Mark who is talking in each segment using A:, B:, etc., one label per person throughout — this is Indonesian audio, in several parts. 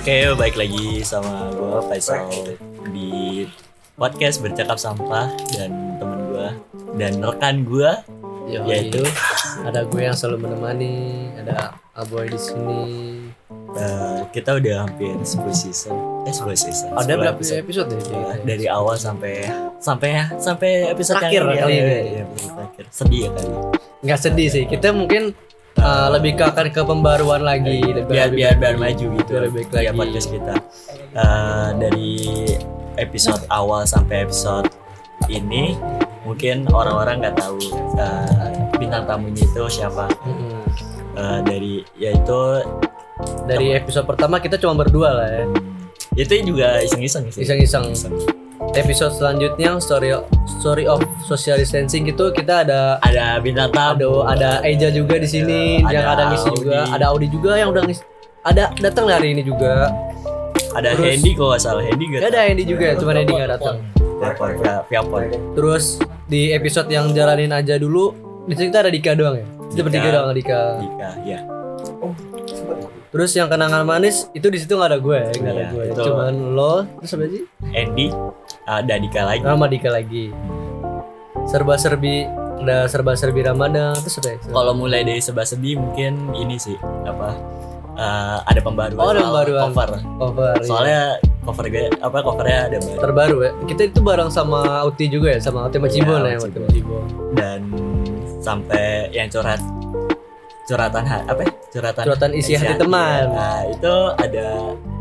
A: Oke, baik lagi sama gue Faisal di podcast bercakap sampah dan temen gue dan rekan gue
B: Yoi.
A: yaitu
B: ada gue yang selalu menemani, ada Aboy di sini.
A: eh, kita udah hampir 10 season, eh 10 season.
B: Ada
A: 10
B: berapa
A: episode.
B: episode deh? dia?
A: Eh, dari awal sampai sampai sampai episode
B: Terakhir iya,
A: yang
B: kali
A: ya,
B: ini.
A: ya, episode terakhir. Sedih ya kali.
B: Nggak sedih sih. Kita mungkin uh, lebih ke akan ke pembaruan lagi.
A: Iya, biar
B: Lebih- Iya, lebih
A: biar
B: baik
A: biar
B: lagi.
A: maju gitu
B: Biar lebih baik
A: ya
B: lagi.
A: podcast kita Eh, dari episode awal sampai episode ini mungkin orang-orang nggak tahu eh, bintang tamunya itu siapa
B: Mm-mm.
A: Eh, dari yaitu
B: Dari episode pertama kita cuma berdua lah ya.
A: itu juga iseng-iseng sih
B: Iseng-iseng. Episode selanjutnya story story of social distancing itu kita ada
A: ada bintang
B: ada
A: tamu
B: ada Eja juga di sini
A: Ada
B: yang ada ngisi juga,
A: Audi.
B: ada Audi juga yang udah ngisi. Ada datang hari ini juga.
A: ada
B: terus-
A: Hendy kalau nggak salah Hendy
B: Gak
A: nggak
B: ada Andy juga, cuma Andy nggak datang.
A: Viapor ya, Viapor
B: Terus di episode yang jalanin aja dulu, di sini kita ada Dika doang ya. Kita
A: Dika.
B: bertiga doang Dika.
A: Dika ya
B: Terus yang kenangan manis itu di situ nggak ada gue, ya, nggak ada
A: Iya,
B: gue.
A: betul.
B: Cuman lo, terus apa sih?
A: Andy ada Dika eh, lagi
B: Nama Dika lagi. Serba serbi, ada serba serbi Ramadan, terus apa ya?
A: kalau mulai dari sebah sebi mungkin ini sih apa eh, ada pembaruan
B: Oh, ada
A: soal
B: pembaruan.
A: cover
B: Cover. iya.
A: soalnya cover gue apa covernya ada baru
B: terbaru ya. Kita itu bareng sama Uti juga ya, sama Uti Macibon
A: Iya,
B: ya, Uti
A: Macibon.
B: Macibon.
A: dan sampai yang curhat curhatan ha- apa ya? curhatan
B: Curhatan isi hati teman.
A: Nah, itu ada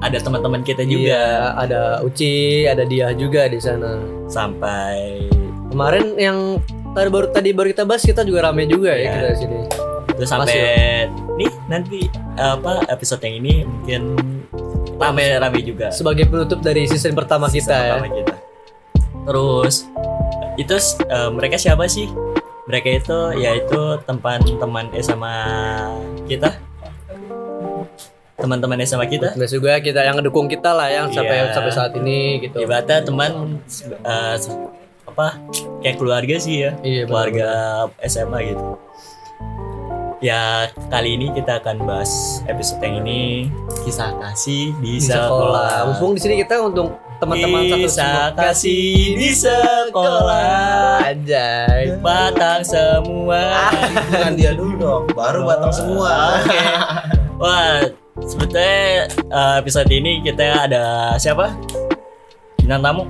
A: ada teman-teman kita
B: Iya,
A: juga
B: ada Uci, ada dia juga di sana.
A: sampai
B: Kemarin yang tadi baru tadi baru kita bahas kita juga rame juga
A: Iya.
B: ya kita di sini.
A: itu sampai nih nanti eh, apa episode yang ini mungkin rame-rame juga
B: sebagai penutup dari season pertama kita ya.
A: sama kita. Terus itu eh, mereka siapa sih? Mereka itu yaitu teman-teman SMA kita. Teman-teman SMA kita.
B: Terus juga kita yang ngedukung kita lah yang sampai
A: Iya.
B: sampai saat ini gitu.
A: Ibaratnya teman eh, se- apa? Kayak keluarga sih ya.
B: Iya,
A: Keluarga SMA gitu. Ya, kali ini kita akan bahas episode yang ini kisah kasih di,
B: di sekolah.
A: sekolah.
B: Mumpung di sini kita untuk teman-teman satu
A: Kisah
B: semua-
A: kasih di sekolah
B: Anjay.
A: Batang semua
B: Ah.
C: Bukan dia dulu dong, baru batang semua.
A: Oke. Wah, sebetulnya eh, episode ini kita ada siapa? Bintang tamu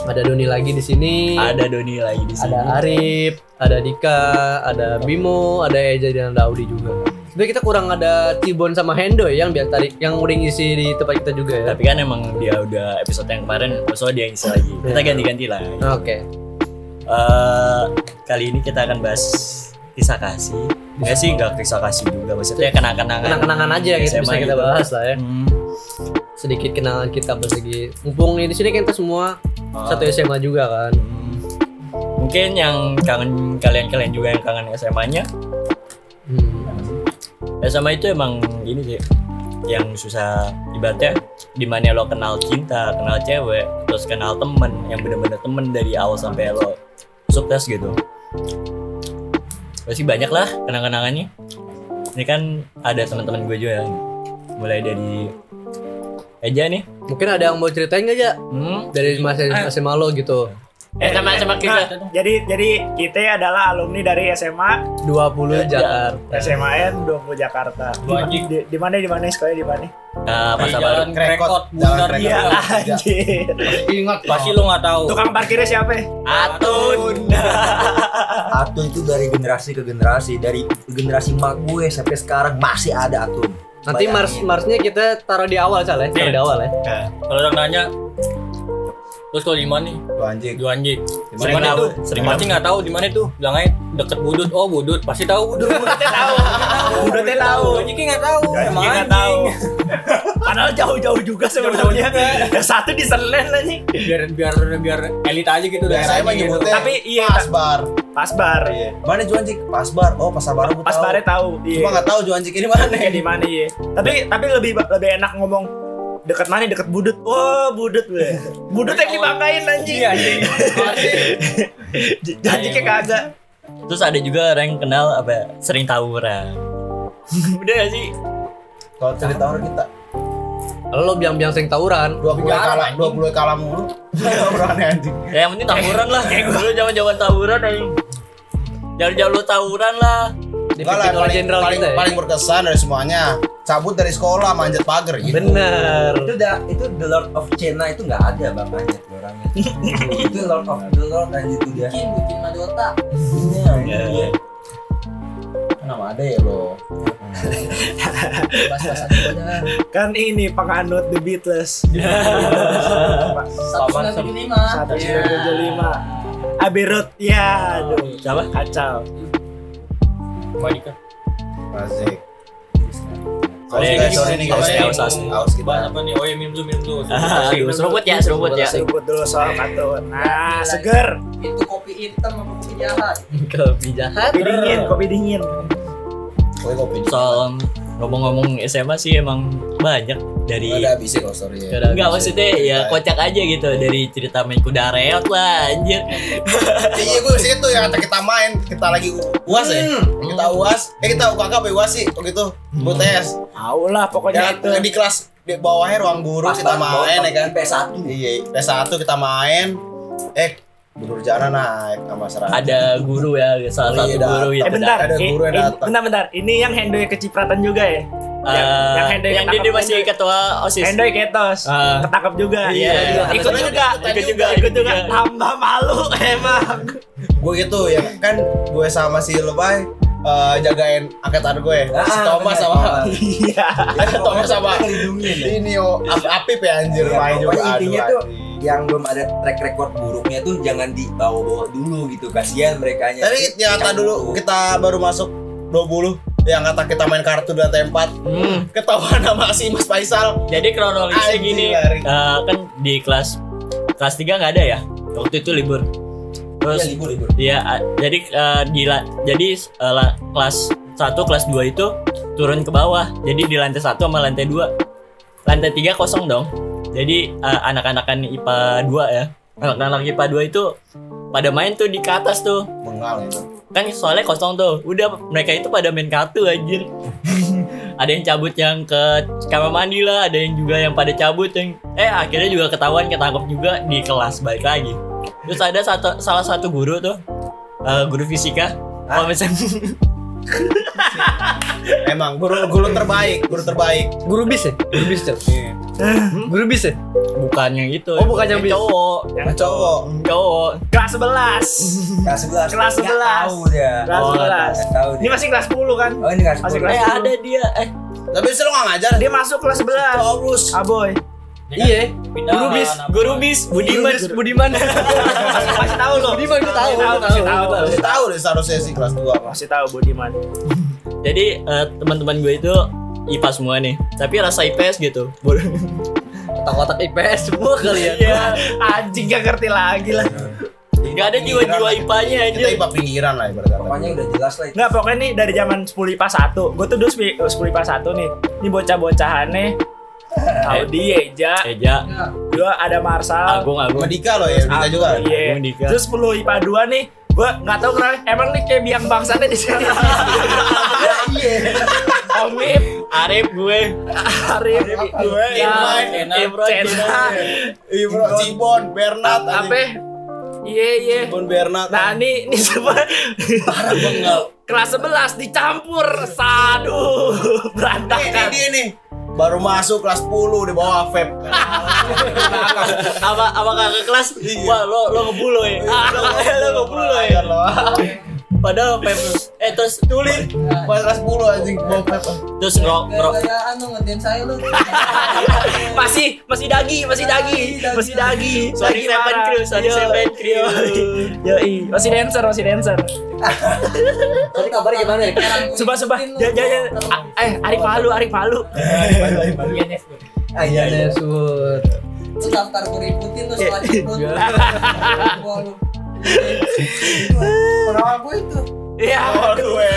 B: Ada Doni lagi di sini.
A: Ada Doni lagi di sini
B: Ada Arif, ada Dika, ada Bimo, ada Eja dan ada Audi juga. Sebenarnya kita kurang ada Tibon sama Hendo ya, yang biar tarik yang udah ngisi di tempat kita juga ya.
A: Tapi kan emang dia udah episode yang kemarin Maksudnya dia yang isi lagi Kita
B: Iya.
A: ganti-ganti lah
B: Oke.
A: Eh, Kali ini kita akan bahas kisah kasih Enggak sih, enggak kisah kasih juga Maksudnya kenang-kenangan
B: Kenang-kenangan aja gitu
A: SMA
B: bisa kita
A: gitu.
B: bahas lah ya.
A: Hmm.
B: sedikit kenangan kita persegi mumpung di sini kan kita semua
A: Ah.
B: satu SMA juga kan
A: Hmm. Mungkin yang kangen kalian-kalian juga yang kangen SMA-nya.
B: Hmm.
A: SMA Eh, itu emang ini sih yang susah ibaratnya dimana lo kenal cinta, kenal cewek, terus kenal temen yang bener-bener temen dari awal sampai lo sukses gitu. Pasti banyak lah kenang-kenangannya. Ini kan ada teman-teman gue juga yang mulai dari Eja nih.
B: mungkin ada yang mau ceritain gak ya
A: Hmm.
B: dari masa SMA lo gitu
A: Eh sama sama
D: Nah,
A: kita.
D: jadi jadi kita adalah alumni dari SMA
B: 20 Jakarta
D: SMAN 20 Jakarta. Di, di, di mana di mana sekolahnya di mana?
A: Ah, masa baru.
C: Iya, Krekot, bundar
D: Iya anjir.
C: Ingat
E: Pasti lo nggak tahu.
D: Tukang parkirnya siapa? ya?
C: Atun itu dari generasi ke generasi, dari generasi mak gue sampai sekarang masih ada Atun.
B: nanti mars
C: Bayangin.
B: marsnya kita taruh di awal salah ya taruh di awal ya
E: Kalau orang nanya, terus kalau di mana nih?
C: Tuh anjing.
E: Juanji.
A: Sering
E: Dimana
A: tahu,
E: itu?
A: sering
E: Pasti nggak tahu di mana itu. Bilang aja deket budut. Oh budut, pasti tahu budut. Budutnya tahu.
D: Budutnya tahu.
E: Juanji nggak tahu. Emang
D: Kita
E: anjing.
D: tahu. Padahal jauh-jauh juga sebenarnya. Yang satu di Senen aja.
E: Biar biar biar elit aja gitu.
F: Biasanya mah
E: daerahnya gitu.
F: nyebutnya
D: Tapi iya,
F: pasbar.
D: Pasbar.
F: Iya.
C: Mana Juanjik? Pasbar. Oh, Pasar Baru gua tahu.
D: Pasbarnya tahu.
F: Cuma
D: Iya.
F: nggak tahu Juanjik ini mana.
D: Kayak di mana ya? Tapi tapi lebih lebih enak ngomong dekat mana dekat budut. Wah, budut gue. Budut yang dibanggain anjing.
E: Iya anjing. Pasti.
D: Janji kayak kagak.
A: Terus ada juga orang yang kenal apa ya, sering tawuran. Udah gak sih?
F: Kalau cerita orang kita
B: Kalau lo biang-biang sering tawuran,
F: dua puluh kalah dua puluh kalah mulu berani anjing
A: Ya yang penting tawuran lah. Dulu zaman-zaman tawuran anjing. Jauh-jauh lu tawuran lah.
F: Enggak
B: dipimpin oleh
F: paling,
B: jenderal
F: paling,
B: kita ya.
F: paling berkesan dari semuanya cabut dari sekolah manjat pagar gitu
B: Bener.
C: itu dah itu the Lord of China itu nggak ada bapaknya tuh orangnya itu Lord of the Lord aja itu dia
G: bikin bikin Madota
C: Iya, iya, iya.
F: kenapa ada ya lo
G: bahas-bahas aja udah.
D: Kan ini penganut The Beatles.
C: Iya.
G: satu sembilan tujuh lima Iya.
D: Satu sembilan tujuh lima. Abbey Road. Ya, aduh. Siapa? Kacau.
E: Monica.
F: asik
A: Kalau yang
F: guys,
A: gitu,
F: ini
A: harus
F: guys,
A: di-
F: ini.
A: harus di-
F: Aus kita.
E: Bahas apa nih? Oh ya minum dulu, minum dulu.
A: Ah, aduh, seruput ya, seruput ya.
D: Sebut dulu soal katut. Nah, seger.
G: itu kopi hitam sama kopi jahat
B: Kopi jahat.
D: Kopi dingin, kopi dingin.
F: Kopi kopi.
A: Soal ngomong-ngomong SMA sih emang banyak dari
F: Ada habisnya kalau story ya.
A: Enggak maksudnya
C: Iya.
A: ya kocak aja gitu dari cerita main kuda reot lah anjir.
F: Iya gue sih itu yang kata kita main, kita lagi u- uas ya.
C: Hmm.
F: Kita uas, eh kita UKK apa uas sih waktu itu. UTS.
D: Tahu lah pokoknya
F: Yang
D: itu.
F: di kelas di bawahnya ruang guru
C: Pas
F: kita
C: banget, bawa
F: main ya
C: top
F: kan.
C: PS1.
F: Iya, PS1 kita main. Eh, guru jana naik sama serang.
A: Ada guru ya salah satu
F: Iya, dah.
A: guru gitu,
F: Eh,
A: itu.
D: Eh bentar,
F: Ada
D: eh,
F: guru yang
D: eh,
F: datang.
D: bentar, bentar. Ini yang hendoy kecipratan juga ya?
A: Eh,
D: yang, yang
A: yang,
D: hendoy
A: dia,
D: ketangkap
A: dia masih
D: hendoy.
A: ketua OSIS.
D: Hendoy ketos,
A: Ah.
D: ketangkap juga.
A: Iya, iya.
D: Ikut juga,
F: Katanya juga,
D: ikut juga, ikut juga. Tambah malu emang.
F: Gue gitu ya kan gue sama si Lebay eh, jagain angkatan gue.
C: Ah,
F: si Thomas
C: bener,
F: sama
D: Iya.
F: ada Thomas sama
C: Ngelindungin ya.
F: ini yo Apip ya anjir
C: Iya,
F: main juga.
C: pokoknya
F: Aduh,
C: intinya tuh,
F: anjing.
C: yang belum ada track record buruknya tuh jangan dibawa-bawa dulu gitu kasihan mereka
F: Tapi yang kata dulu kita baru masuk 20 yang kata kita main kartu dan tempat
A: Hmm.
F: ketahuan sama si Mas Faisal
A: Jadi kronologisnya
F: Anjing,
A: gini,
F: lari.
A: eh, kan di kelas kelas 3 nggak ada ya. Waktu itu libur. Terus
C: ya libur libur
A: Iya, a- jadi eh, di la- jadi eh, la- kelas 1 kelas 2 itu turun ke bawah. Jadi di lantai 1 sama lantai 2. Lantai 3 kosong dong. Jadi eh, anak-anakan IPA 2 ya. Anak-anak IPA 2 itu pada main tuh di ke atas tuh.
F: bengal itu
A: Kan soalnya kosong tuh. Udah mereka itu pada main kartu anjir. ada yang cabut yang ke kamar mandi lah, ada yang juga yang pada cabut yang eh akhirnya juga ketahuan ketangkep juga di kelas balik lagi. Terus ada satu, salah satu guru tuh eh, guru fisika kalau misalnya
F: emang guru guru terbaik guru terbaik
B: Guru bis ya? Guru bis Cel. Guru bis ya?
A: bukan yang itu
B: Oh, bukan yang bis.
A: cowok
F: Nah, cowok
A: cowok Eh,
D: Kelas 11.
C: kelas 11
D: Kelas
C: Nggak
D: 11.
C: tahu dia
D: Kelas
A: Oh,
C: Nggak tahu
D: 11. Ini
C: dia
D: masih kelas 10 kan?
C: oh ini kelas
D: Masih
C: 10
D: kelas
A: eh
D: 10.
A: ada dia eh
F: tapi sih lo gak ngajar Oh,
D: Dia masuk kelas Ah, 11.
F: Oblus
D: Aboy.
B: Iya.
E: Pindah
B: Guru bis.
E: anak-anak.
A: guru bis Budiman
B: Budiman.
D: Masih masih tahu loh.
B: Budiman gue tahu,
D: Masih
B: gue
D: masih
B: tahu,
D: tahu.
B: gue tahu.
F: Masih tahu deh seharusnya sih kelas 2 mas
D: Masih tahu Budiman.
A: jadi eh, teman-teman gue itu IPA semua nih tapi rasa IPS gitu
B: Kotak-kotak IPS semua kali ya.
A: iya
D: Anjing gak ngerti lagi lah.
A: nggak ada jiwa-jiwa IPA-nya aja
F: kita ipa pinggiran lah ibarat kata
C: pokoknya udah jelas lah itu.
D: Nggak pokoknya nih dari zaman 10 IPA 1. Gue tuh dulu 10 IPA 1 nih. Ini bocah-bocahannya.
A: Eh.
D: Audi, Eja,
A: Eja
D: gua ada Marsal,
A: Agung Agung
F: Medika lo ya Medika
D: Agung,
F: juga
D: Iya.
A: Agung Dika.
D: Terus 10 IPA 2 nih, gua nggak tahu kenapa emang nih kayak biang bangsanya di sini. Omip,
A: Arif gue
D: Arif, gue,
E: Imai, Ena.
D: Imron, Cena,
F: Ibro Iya, Cibon Bernat
D: apa?
F: anjing.
D: Iya iya.
F: Cibon Bernat
D: Nah ini ini semua kelas 11 dicampur sadu
F: Nih, ini
D: berantakan
F: dia nih baru masuk kelas 10 di bawah vape
A: sama sama kakak kelas
F: Iya.
A: wah lo lo ngebul lo ya lo ngebul lo ya
F: Ajar lo.
A: padahal vape lo. eh terus tulis
F: Pas kelas 10 anjing bawa vape
A: terus ngerok ngerok
G: gaya-gayaan lu ngedance anu, saya lu
D: masih masih dagi masih dagi masih dagi
A: sorry seven
D: parah.
A: crew sorry
D: Yo,
A: seven crew
D: yoi masih dancer masih dancer
B: Tadi kabar gimana ya?
D: sumpah sumpah jangan jangan jangan. A- eh Arif Palu Arif Palu
C: ah iya iya
B: Iya, Sur.
G: lu daftar gue ributin
D: Iya.
G: lu soal ikut
B: Iya.
G: Gua lu pengawal gue itu
D: ya
F: Oh, gue.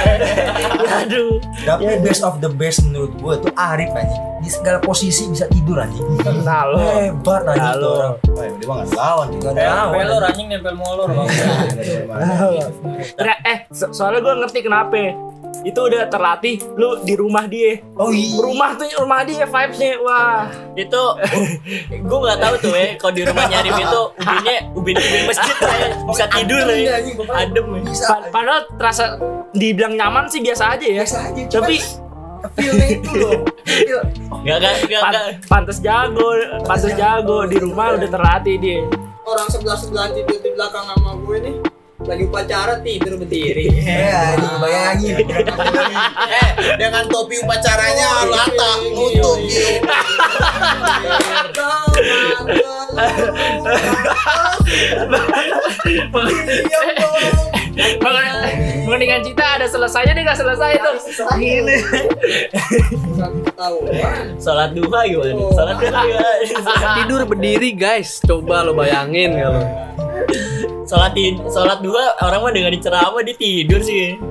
D: aduh
C: tapi
G: Iya,
C: best of the best menurut gua tuh Arif anjing di segala posisi bisa tidur anjing
D: nah lo
F: Eh,
C: hebat anjing
D: Nah,
C: tuh
D: lo.
C: orang
F: Wah, Oh, iya, dia mah nggak lawan nih.
C: Nggak tahu.
E: Pelor anjing nempel molor bang.
F: eh.
D: eh, Nah, eh so- soalnya gue ngerti kenapa itu udah terlatih lu di rumah dia
F: Oh iya.
D: rumah tuh rumah dia vibesnya wah
A: itu gue nggak tahu tuh ya kalau di rumahnya Arif itu ubinnya ubin ubin masjid lah ya. bisa
C: Iya,
A: tidur lah ya. adem ya.
F: Bisa.
D: Pa- padahal terasa dibilang nyaman sih biasa aja ya
F: Biasa aja. cuman
D: tapi
F: feel-nya
C: gitu
F: itu loh. Feel.
A: nggak nggak nggak nggak
D: pan- pantas jago
F: Iya.
D: pantas jago di rumah udah terlatih dia
G: Orang sebelah-sebelah tidur di belakang sama gue nih lagi upacara tidur
B: Iya.
G: berdiri.
C: Ya, aduh, bayangin.
F: Eh, dengan topi upacaranya rata nutup gitu. Iya,
D: Mengenai- mendingan cita ada selesainya dia nggak selesai tuh
G: Gini. Ketahuan.
A: sholat duha gimana
F: Oh.
A: nih? sholat duha gimana
B: Tidur berdiri guys, coba lo bayangin kalau.
A: sholat tid sholat duha orang mah dengerin ceramah dia tidur sih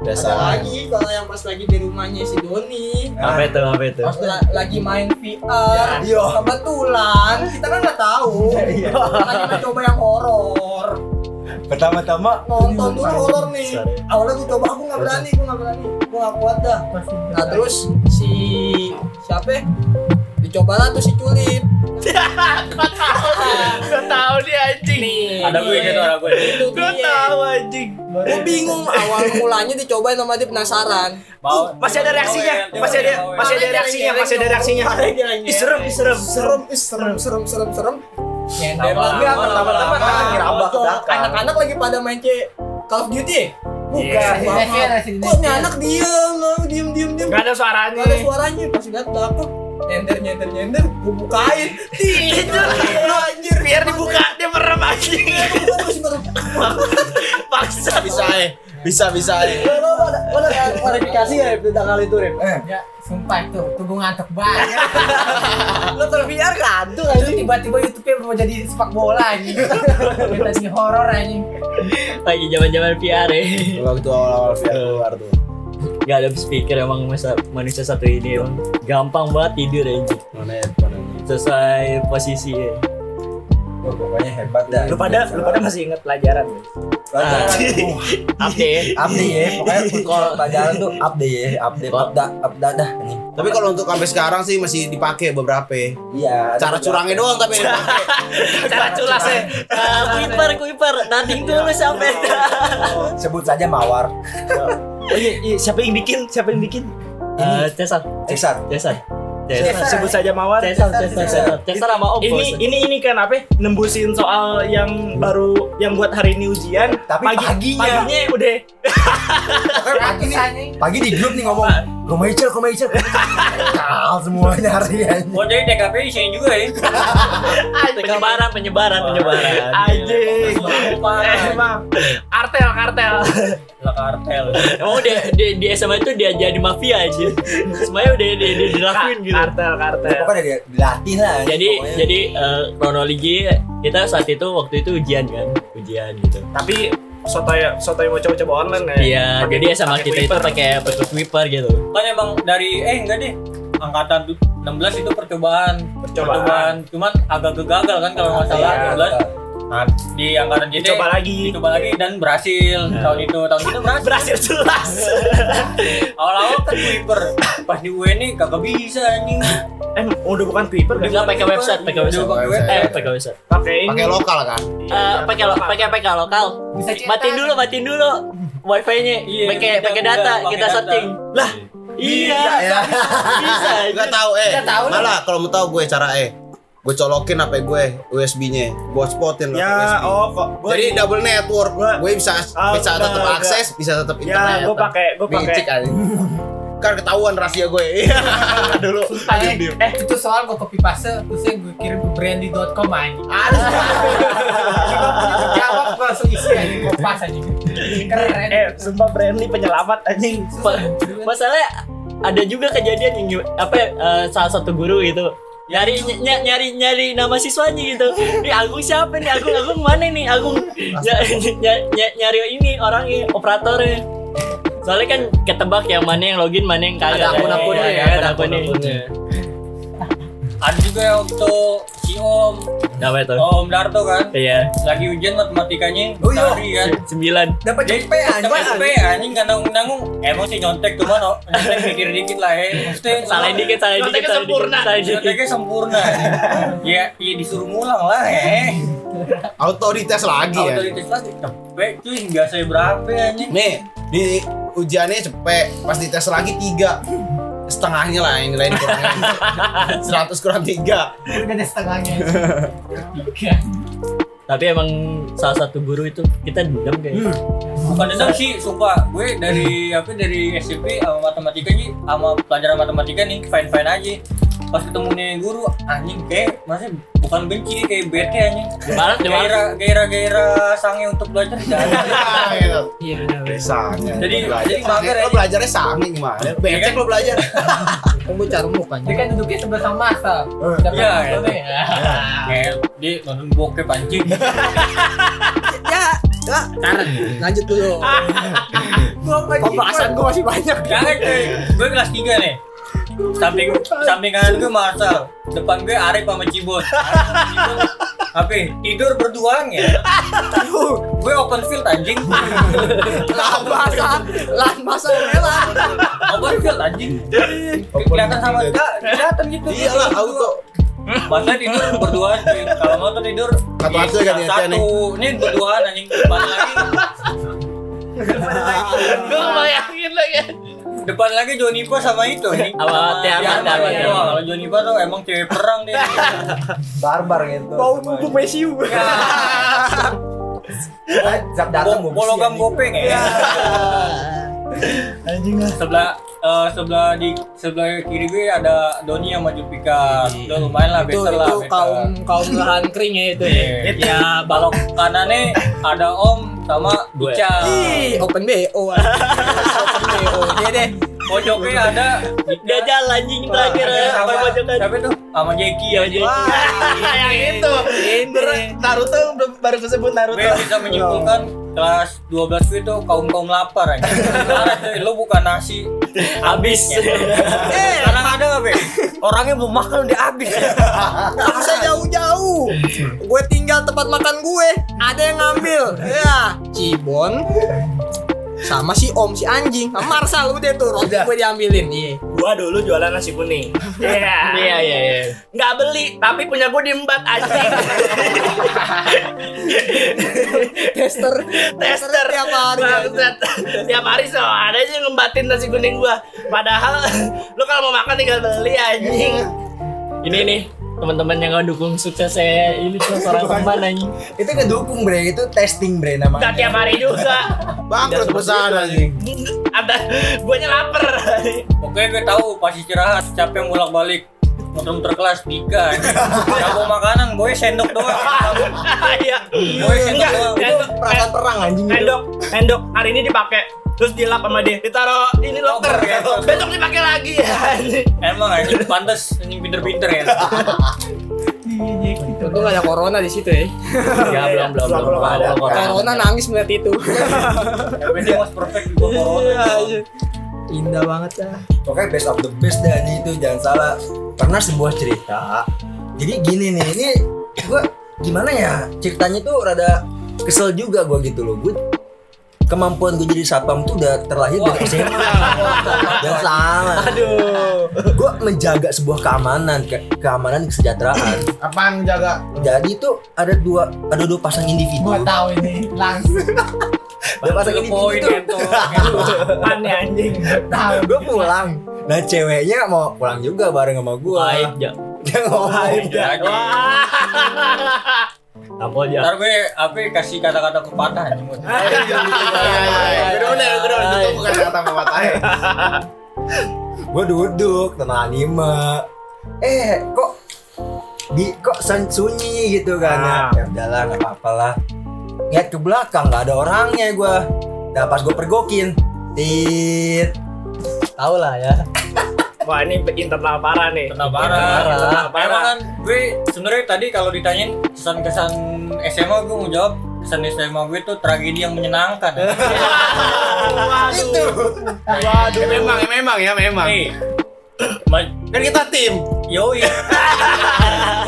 G: Ada lagi kalau yang pas lagi di rumahnya si Doni
F: Ah.
A: apa itu apa itu
G: pas la- lagi main VR
C: Iya.
G: kebetulan kita kan nggak tahu lagi mencoba yang horor
C: Pertama-tama
G: nonton dulu horor nih awalnya gue coba aku nggak berani gue nggak berani gue nggak kuat dah nah terus si siapa ya? dicobalah tuh si Culit
D: nggak tahu dia anjing
E: Ada gue gitu ada gue.
G: itu
D: Gua
G: dia
D: anjing
G: gue bingung awal mulanya dicobain sama dia penasaran
E: Mau-
D: Oh, masih ada reaksinya
E: Bawel,
D: masih ada
E: bawel.
D: masih ada reaksinya masih ada reaksinya Ih, serem ih, serem
G: serem ih, serem serem serem serem nyender
E: Lama,
G: lagi
E: lama,
G: pertama-tama
E: lama,
G: kan
C: lama.
G: Kocok. anak-anak lagi pada main C Call of Duty
D: Iya.
G: kok ini anak diem lalu diem diem diem
D: nggak ada suaranya
G: Nggak ada suaranya pas lihat belakang nyender nyender nyender gue bukain
D: tidur lu anjir biar dibuka dia merem anjing
G: gue terus baru
D: paksa
F: Bisa eh. Bisa bisa eh.
G: lo ada
B: Oh,
G: lo ada klarifikasi ya tentang hal itu Rip
H: Ya, sumpah itu, tuh gue ngantuk banget.
G: lo terbiar kan
H: Itu tiba-tiba YouTube-nya mau jadi sepak bola anjing. Kayak tadi horor anjing.
A: lagi zaman zaman VR ya
F: Waktu awal-awal VR keluar tuh.
A: nggak ada speaker emang masa manusia satu ini emang gampang banget tidur aja
F: Mana ya? Mana ya?
A: sesuai posisi ya.
C: Wah, pokoknya hebat dah.
D: lu pada lu pada masih Ah. inget pelajaran
A: Nah, update
C: Update ya, pokoknya kalau pelajaran tuh update ya, update, update, update dah nih.
F: Tapi kalau untuk sampai sekarang sih masih dipakai beberapa.
C: Iya.
F: Cara curangnya doang tapi ada dipakai.
D: cara culas ya
A: Ah, kuiper kuiper nothing tulus sampai
C: Sebut saja mawar.
D: oh iya, iya, siapa yang bikin siapa yang bikin
A: Eh, Cesar
C: Cesar.
A: Cesar Cesar
D: Siapa? Eh, sebut saja mawar
A: Cesar Cesar Cesar Cesar sama Om
D: ini
A: Bos.
D: ini ini kan apa ya, nembusin soal yang baru yang buat hari ini ujian
C: Tapi paginya.
D: paginya udah
H: Gratis anjing.
C: Pagi di grup nih ngomong, rumah Icel, rumah Icel. Kal semuanya hari ini.
E: Oh jadi TKP isinya juga ya.
A: penyebaran penyebaran penyebaran
D: anjing emang Eh, kartel kartel
E: Lah kartel.
A: emang udah di, di SMA itu dia jadi mafia aja semuanya udah di, di- dilakuin gitu
D: kartel kartel
C: Pokoknya dia dilatih lah.
A: jadi
C: Pokoknya.
A: jadi eh, kronologi kita saat itu waktu itu ujian kan ujian gitu
D: tapi sotoy sotoy mau coba-coba online ya
A: iya
D: Pakai-
A: jadi SMA
D: pakai
A: kita itu
D: Twitter.
A: pakai pakai wiper gitu
E: Kan emang dari eh enggak deh. Angkatan du- 16 itu percobaan,
D: Percobaan.
E: Cuman agak gagal kan kalau nggak salah
C: Iya,
E: 16. Nah, di angkatan JT
D: Dicoba lagi.
E: Dicoba lagi dan berhasil
A: Iya.
E: tahun itu. Tahun itu berhasil.
D: berhasil jelas
E: Awal-awal kan Kuiper. Pas di UN nih kagak bisa anjing.
D: eh udah bukan Twitter udah
A: nggak pakai website pakai
E: Udah
A: website
E: pakai
A: eh
E: website.
A: pakai website
D: pakai ini
F: Pakai lokal kan.
A: Eh, pakai lo pakai PK lokal
H: Bisa cetak.
A: matiin dulu matiin dulu wifi-nya
E: Iya,
A: pakai
E: udah,
A: pakai
E: udah,
A: data
E: pakai
A: kita
E: data.
A: searching lah iya bisa
F: Gak tahu eh.
H: Nggak tahu lah.
F: Malah kalau mau tahu gue cara eh. Gue colokin apa gue USB-nya, gue spotin lah
D: ya
F: USB.
D: oh kok gua-
F: Jadi double network,
D: Gua-
F: gue bisa
D: Ah,
F: bisa
D: enggak,
F: tetap
D: enggak.
F: akses, bisa tetap
D: ya
F: internet.
D: gue pakai gue pakai
F: Micik aja. Kan ketahuan rahasia gue. Iya, Dulu.
H: Sumpah ya. Eh, itu soal gue copy paste, terusnya gue kirim ke brandy.com anjing. Ada Jawab gue langsung isi anjing, kopas anjing. Keren.
D: eh sumpah friendly penyelamat anjing
A: masalahnya ada juga kejadian yang gim- apa ya, eh, salah satu guru gitu nyari ny- ny- nyari nyari nama siswanya gitu ini Agung siapa nih Agung Agung mana nih Agung Ny- ny- ny- nyari ini orangnya operatornya soalnya kan ketebak yang mana yang login mana yang kagak
B: Ada
A: kan?
B: akun-akunnya
A: Iya,
B: ya,
A: ada akun-akunnya. ada juga yang waktu itu si Om
I: Apa itu?
A: Om Darto kan
I: Iya.
A: lagi ujian matematikanya
B: Oh, iya.
A: sehari kan
I: Sembilan.
B: Dapat
A: Jadi,
B: cepet
A: tapi
B: anjing.
A: cepet anjing kan nanggung-nanggung emang sih nyontek cuman oh, nyontek mikir dikit lah ya maksudnya
I: Salah dikit, salah dikit,
D: Nyonteknya
I: salah dikit,
D: sempurna.
I: salah dikit.
A: nyonteknya sempurna ya iya disuruh ngulang lah ya
F: Auto dites
B: Iya.
F: lagi ya.
A: otoritas lagi cepet cuy biasanya berapa anjing
F: Nih, di ujiannya cepet, pas dites lagi tiga setengahnya lah yang lain kurangnya 100 kurang tiga
H: Udah ada setengahnya.
I: Tapi emang salah satu guru itu kita dendam gitu. kayaknya.
A: Hmm. bukan dendam sih sumpah gue dari apa dari SMP sama matematika nih sama pelajaran matematika nih fine fine aja pas ketemu nih guru anjing kayak masih bukan benci kayak bete anjing
I: Gimana? Gimana?
A: gairah gairah gairah sange untuk belajar nggak ada.
F: Ah, gitu.
H: Iya benar.
F: Sange.
A: Jadi-
F: Belajar.
A: jadi mager ya.
F: Lo belajarnya sange gimana? Becek lo belajar.
B: Kamu carmuk
H: Dia
B: anjing.
H: kan duduknya sebelah sama masa.
A: Iya,
H: Iya.
I: ya.
A: kayak dia nonton bokep anjing
B: Ya, ya. Lanjut dulu.
H: Pembahasan gue masih banyak.
A: jangan cuy gue kelas 3 nih samping samping kanan gue Marcel depan gue Arif sama Cibon Arif sama Cibon, apa tidur berduaan ya gue open field anjing
B: Lah masa, lah masa rela.
A: open field anjing kelihatan sama enggak kelihatan gitu
F: Iyalah Iya auto.
A: masa tidur berduaan cuy kalau mau tuh tidur
F: Satu-satu
A: di
F: ya ganti-gantian
A: satu ini berduaan anjing depan lagi
D: Gue bayangin lagi.
A: depan lagi Jonipa sama itu anjing
I: Sama Tiarman,
A: Tiarman,
I: Tiarman,
A: ya.
I: Tiarman.
A: kalau Jonipa tuh emang cewek perang dia
C: barbar gitu.
H: Bau bubuk Messi.
C: Zap datang
A: Bo- Bologam gopeng ya. Sebelah eh, sebelah di sebelah kiri gue ada Doni sama Jupika. Udah lumayan lah,
B: Itu
A: better lah.
B: itu
A: better.
B: kaum kaum lahan kering ya itu. ya.
A: Iya. Ya, balok kanannya ada Om sama
I: Gue.
A: Ica.
B: Ih, open BO. anjing. Open BO. Iya deh.
A: Pojoknya ada Dika.
I: Gak jalan anjing terakhir
A: Sama-
I: ya. Apa
A: sama-
I: pojokan?
A: Siapa tuh? Sama Jeki ya Jeki.
D: Yang itu.
B: Ini.
D: Naruto belum baru kesebut Naruto.
A: Gue bisa menyimpulkan kelas 12 gue itu kaum-kaum lapar aja. Parah cuy, lu bukan nasi
I: Habis.
A: Eh, sekarang ada nggak, Be? Orangnya belum makan udah habis ya.
B: Masa jauh-jauh. Gue tinggal tempat makan gue. Ada yang ngambil. Ya, Cibon sama si Om si anjing sama Marsal udah tuh roti gue diambilin iya
D: Gua dulu jualan nasi kuning.
I: Iya iya iya.
D: Nggak beli, tapi punya gue diembat anjing.
B: tester
D: Tester
B: tiap hari
D: Bangsat. Tiap hari so ada aja yang ngembatin nasi kuning gua. Padahal lu kalau mau makan tinggal beli anjing.
I: Ini nih teman-teman yang ngedukung sukses saya ini tuh seorang teman anjing.
C: Itu ngedukung bre, itu testing bre namanya.
D: Gak tiap hari juga.
F: Bangkrut pesan anjing.
D: Ada guanya lapar.
A: Oke, gue tahu pas istirahat capek bolak balik muter-muter kelas tiga nggak mau makanan gue sendok doang
D: Iya.
A: gue sendok
D: Enggak,
A: doang
D: sendok,
F: Perasaan perang anjing itu.
D: sendok, sendok hari ini dipakai. Terus dilap sama dia, ditaro ini loker.
A: Loker, ya.
D: Besok dipakai lagi anjing.
A: emang anjing pantes anjing pinter-pinter ya
B: untung gak ada corona di situ ya
I: Enggak belum belum belum.
C: Belum ada.
I: Belum, belum.
B: corona nangis melihat itu
A: tapi dia mas perfect di bawah
C: Iya,
A: corona
B: indah banget ya
C: Pokoknya best of the best deh anjing itu jangan salah. Pernah sebuah cerita. Jadi gini nih, ini gua gimana ya? Ceritanya tuh rada kesel juga gua gitu loh. Gua kemampuan gue jadi satpam tuh udah terlahir dari SMA. Jangan salah.
B: aduh
C: Gua menjaga sebuah keamanan, ke- keamanan kesejahteraan.
F: Apaan jaga?
C: Jadi tuh ada dua ada dua pasang individu.
H: Gue tahu ini langsung
C: Dua pasang
A: Lu
C: individu
A: poin
C: tuh.
A: entong
D: Aneh anjing.
H: tahu.
C: Gue pulang. Nah ceweknya mau pulang juga bareng sama gue.
I: Baik ya.
C: Dia ngomong.
I: Tampol ya.
A: ntar gue apa kasih kata-kata pepatah anjing
F: Iya, Bener-bener, bener-bener. Itu bukan kata pepatahnya.
C: gue duduk nonton anime eh kok di kok sun- sunyi gitu kan ya.
D: Ah.
C: ya udahlah nggak apa-apa lah lihat ke belakang nggak ada orangnya gue nah pas gue pergokin tit
J: Tahu lah ya.
D: Wah ini internal parah nih.
A: Kena parah.
D: Kena parah.
A: Emang kan gue sebenarnya tadi kalau ditanyain kesan-kesan SMA gue mau jawab kesan SMA gue tuh tragedi yang menyenangkan.
F: Itu.
D: Waduh.
F: Memang, memang ya, memang.
A: Nih, ma-
F: Kan kita tim.
E: Yoi.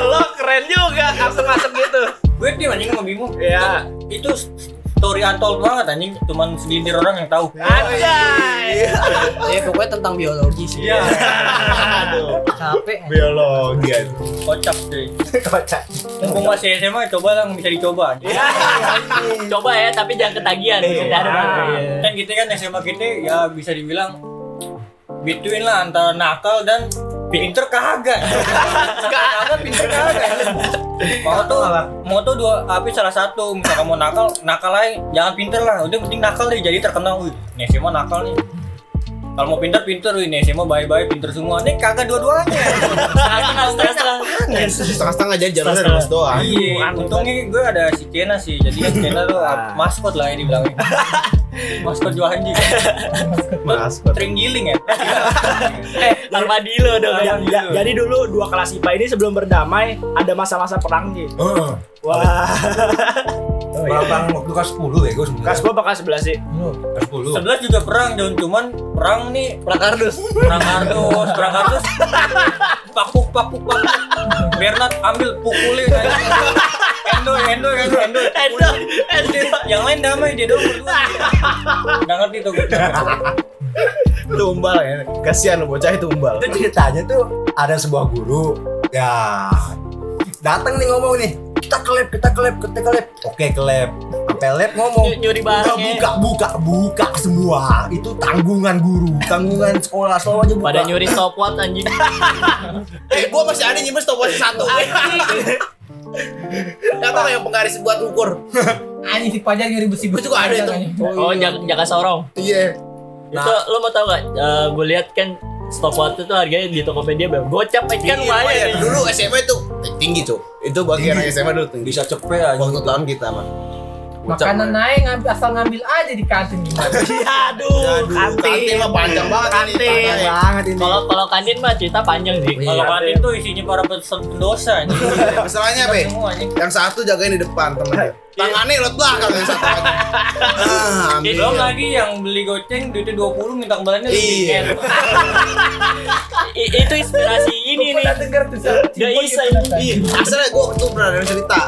D: Lo keren juga asem-asem gitu.
E: gue tim anjing sama Bimo.
D: Ya.
E: Itu story untold banget anjing, cuman segelintir orang yang tahu.
D: Anjay.
G: ya pokoknya tentang biologi sih
E: Iya.
F: Aduh,
G: capek
F: biologi aja.
E: Kocak cuy. Mumpung masih SMA coba lah bisa dicoba.
D: Iya,
A: Coba ya, tapi jangan ketagihan. Kita ada
E: Kan kita kan SMA kita ya bisa dibilang between lah antara nakal dan pinter kagak. nakal pinter kagak. Mau tuh mau tuh dua tapi salah satu misalkan mau nakal nakal aja jangan pinter lah udah penting nakal deh jadi terkenal wih ini SMA nakal nih kalau mau pinter pinter wih ini SMA bye bye pinter semua nih kagak dua-duanya
A: stres lah.
F: Setengah-setengah aja jalannya lurus doang.
E: Iya, untungnya gue ada si Kena sih. Jadi kan Kena tuh ap- maskot lah yang dibilangin. maskot Johan juga.
F: Maskot.
E: Tring giling ya.
A: Armadillo Eh, dong.
D: Ya, ya,
A: gitu.
D: jadi dulu dua kelas IPA ini sebelum berdamai ada masa-masa perang gitu.
C: Heeh.
D: Wah,
E: Oh, iya.
C: Berapaan Oh, waktu kelas 10 ya gue sebenarnya.
D: kelas gua bakal sebelah sih.
C: Kelas 10.
E: Sebelah juga perang, John. Cuman perang nih
B: Prakardus.
E: perang kardus, perang kardus. Pakuk, pakuk, pakuk. Bernard ambil pukulin aja. Endo, Endo, Endo, Endo.
A: Endo,
E: Endo. Yang lain damai dia doang berdua. Gak ngerti tuh gue.
F: Tumbal ya. Kasihan lo bocah itu tumbal.
C: itu ceritanya tuh ada sebuah guru ya datang nih ngomong nih kita ke lab kita ke lab kita ke lab oke ke lab sampai lab ngomong
A: Ny- nyuri
C: buka
E: ya.
A: barangnya.
C: buka buka buka semua itu tanggungan guru tanggungan sekolah selalu aja buka
A: Pada nyuri stopwatch anjing.
F: Eh, gua masih ada nyimpen stopwatch satu. Gak tau yang penggaris buat ukur.
H: Anjing si pajar nyuri besi
F: Gua juga ada itu.
A: Oh, jak- jaka sorong.
F: Iya.
C: Nah.
A: Itu lo mau tau gak? Eh, gue lihat kan stopwatch itu harganya di Tokopedia berapa? Gocap eh, kan
F: Iya,
A: lumayan.
F: lumayan. Dulu SMA itu tinggi, Cuk. Itu bagi anak SMA dulu tinggi.
C: bisa cepet aja
F: Waktu tahun kita mah.
H: Makanan naik ngambil asal ngambil aja di kantin
F: Iya,
H: gimana?
D: Aduh,
F: Kantin
D: kantin.
F: mah panjang banget ini.
D: Kantin.
F: tangannya.
C: banget ini
A: Kalau kalau kantin mah cerita panjang sih.
E: Kalau kantin tuh isinya para pendosa.
F: Masalahnya, Be.
E: Semua anjing.
F: Yang satu jagain di depan temennya. Tangannya lot belakang yang satu lagi. Ah, ambil.
E: Belum lagi yang beli goceng duitnya 20 minta kembaliannya
F: Iya.
E: lebih
A: I- itu inspirasi ini nih.
H: Pernah dengar tuh siapa?
A: Gak
H: Cibon
A: bisa
H: gitu kan?
F: Iya, asalnya gue waktu pernah ada cerita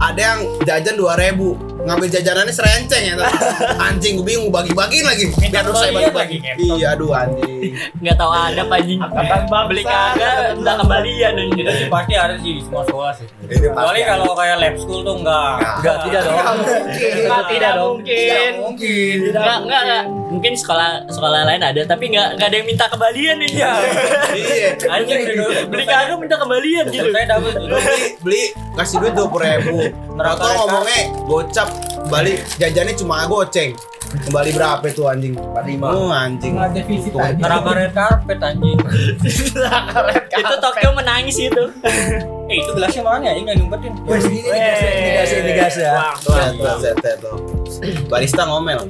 F: ada yang jajan dua ribu ngambil jajanannya serenceng ya tapi anjing gue bingung gue bagi-bagiin lagi
E: Minta
F: biar dosa
E: kembalian
F: bagi-bagi
E: lagi.
F: iya aduh anjing
A: Nggak tahu ada anjing.
D: Angkatan
A: Beli
D: bangsa.
A: kagak minta kembalian anjing.
E: Itu sih pasti ada sih di semua sekolah sih.
F: Ini
E: Kecuali
F: pasti ada.
E: kalau kayak lab school tuh enggak.
B: Enggak, tidak dong.
D: Tidak, tidak
F: Iya.
D: mungkin.
E: mungkin.
A: Enggak, enggak, enggak. Mungkin sekolah sekolah lain ada, tapi enggak enggak ada yang minta kembalian nih. Iya.
F: iya
E: Anjing dulu.
A: Beli kagak minta kembalian gitu.
E: Saya dapat dulu.
F: beli beli kasih duit dua puluh ribu
E: Neraka
F: atau
E: reka.
F: ngomongnya gocap balik jajannya cuma goceng kembali berapa tuh anjing empat lima oh, anjing
H: Nggak defisit aja.
E: Neraka red carpet anjing.
A: Itu Tokyo menangis itu.
E: Eh itu gelasnya mana anjing enggak nyumpetin.
C: wes ini digas ya, ini digas ya, ini digas ya
D: Wah,
F: Set, set, set, tuh. barista ngomel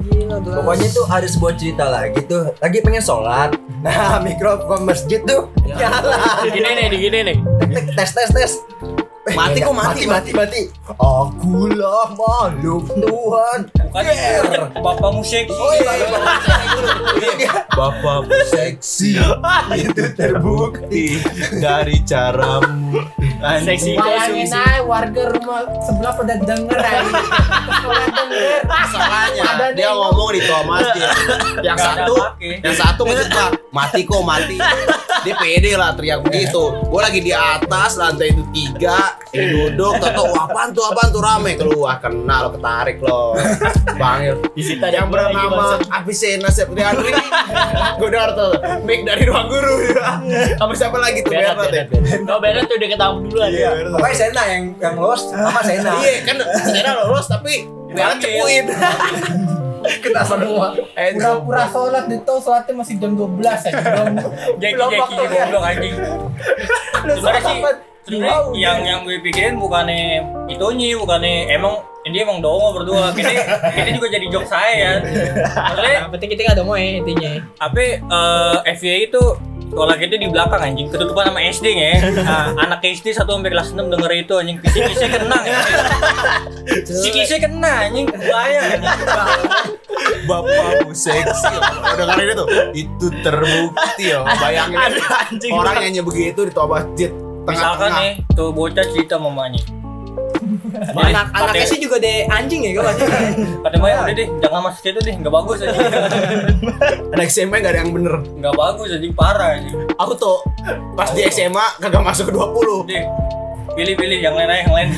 C: Pokoknya tuh ada sebuah cerita lagi tuh Lagi pengen sholat Nah mikrofon masjid tuh
E: Ya.
C: Nyala
A: Gini nih, di gini nih.
C: Tek, tes tes tes Eh,
F: Mati kok, mati,
C: mati mati akulah makhluk Tuhan
E: Bukan bapak musik.
C: oh iya, iya, iya.
F: bapak seksi itu
C: Iya.
F: terbukti dari caramu anjing
A: Seksi
H: Bayangin
A: konsumsi.
H: aja warga rumah sebelah pada denger aja. Sekolah
F: Iya.
H: denger.
F: masalahnya
H: Ada
F: dia
H: nih.
F: ngomong di toa masjid yang
E: Nggak ada
F: satu
E: pakai.
F: yang satu ngejebak mati kok mati dia pede lah teriak begitu gue lagi di atas lantai itu tiga duduk tato apaan tuh apaan tuh rame keluar kena lo ketarik lo bang
A: Disita
F: yang
A: dari gua lagi,
F: bernama Avicenna Septriandri gue udah tuh mic dari ruang guru sama siapa lagi tuh
A: Berat,
F: Bernard ya?
A: berat, berat. Oh, berat tuh udah ketahuan duluan.
F: Iya, Bernard.
C: Pokoknya Sena yang yang los sama Sena
F: Iya kan Sena lolos tapi Bella cepuin.
C: kita semua
H: Pura-pura sholat di tau sholatnya masih jam 12 aja. Belum
E: Jeki
H: belum
E: jeki
H: waktunya.
E: goblok anjing.
H: Lu
E: Sebenarnya sih
H: sholat
E: sebenarnya
H: Wow,
E: yang yang gue pikirin bukannya itunya bukannya emang ini emang dongo berdua. Kita kita juga jadi jok saya ya. Maksudnya
G: yang penting kita nggak ada mau ya intinya
E: apa eh FYI itu sekolah kita di belakang anjing ketutupan sama SD ya nah, anak SD satu sampai kelas 6 denger itu anjing psikisnya kena ya. psikisnya kena anjing bahaya anjing.
F: Bapakmu seksi loh. Udah kali ini tuh Itu terbukti loh Bayangin
D: Ada anjing
F: Orang nyanyi begitu di toba masjid
E: Misalkan nih,
F: Tengah-tengah
E: tuh bocah cerita sama mamanya.
G: Anak anaknya
E: Katanya-
G: sih juga deh anjing ya gua
E: Kata Maya, udah deh, jangan masuk situ deh, nggak bagus aja.
F: Ada SMA gak ada yang bener
E: Nggak bagus aja, parah aja.
F: Aku tuh Pas di SMA kagak masuk ke 20
E: Deh, pilih-pilih yang lain aja, yang lain.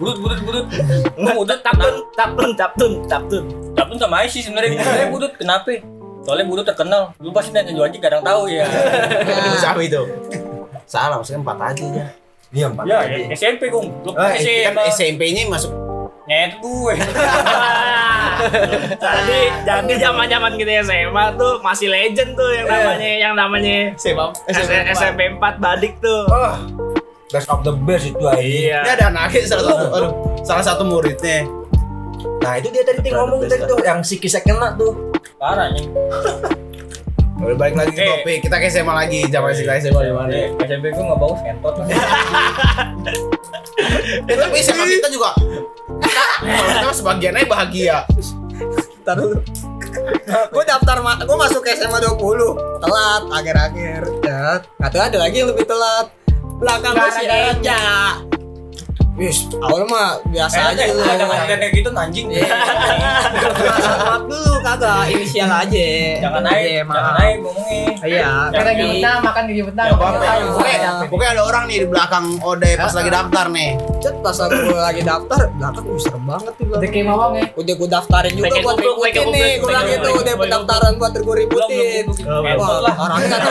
E: Burut, burut, burut. Lu udah
D: Taptun, taptun, taptun, taptun.
E: Tapi sama Aisy
G: Iya.
E: sebenarnya sebenarnya budut kenapa? Soalnya budut terkenal. Lu pasti nanya juga aja kadang tahu ya.
F: Siapa itu Salah maksudnya 4 aja ya
C: Iya, Pak.
E: ya, SMP kung. Lu
G: Eh,
A: Eh,
F: Ah,
E: SMP.
F: kan SMP-nya masuk
E: Nyet gue.
D: jadi jadi zaman zaman kita SMA tuh masih legend tuh yang namanya yang namanya S- SMP 4 badik tuh.
C: Oh, best of the best itu aja.
F: Ini ada anaknya salah satu aduh, Salah satu muridnya
C: Nah itu dia tadi Ting, ngomong tadi tuh yang si kisah kena tuh.
E: Parah nih.
F: Udah balik lagi ke
E: Eh.
F: topik Kita ke SMA lagi Zaman kita SMA di mana
E: Eh, SMP gue nggak bagus ngentot.
F: Eh, tapi SMA kita juga kita kalau kita mah sebagiannya bahagia
G: Gue daftar, gue masuk ke SMA 20 Telat, akhir-akhir
B: Nah,
G: Telat Nggak tahu ada lagi yang lebih telat Belakang gue si Eja Wis, awal mah
A: Eh,
G: biasa aja
E: Kayaknya
G: lu
E: ada ngajarin kayak gitu anjing.
G: Iya. Maaf dulu kagak, inisial aja
E: Jangan naik, jangan naik ngomongnya.
G: Iya,
H: Karena gigi betang, makan gigi betang.
F: Gak Iya, apa-apa.
H: Ayo,
F: Pokoknya,
H: ayo.
F: pokoknya ada orang nih di belakang Ode pas lagi daftar nih.
G: cet pas aku lagi daftar, belakang gue serem banget tuh
H: Udah
G: belakang.
H: kayak mawang ya.
G: Udah gue daftarin juga
A: Pengen
G: buat
A: kupluk,
G: ributin nih
A: pengen
G: Gue
A: kupluk,
G: bilang
A: pengen
G: gitu,
A: kupluk,
G: udah
A: pengen
G: pendaftaran buat gue
E: Belum
G: ributin
E: belum.
D: kan?
E: Ngentot
G: Wah,
E: lah.
G: orangnya enak,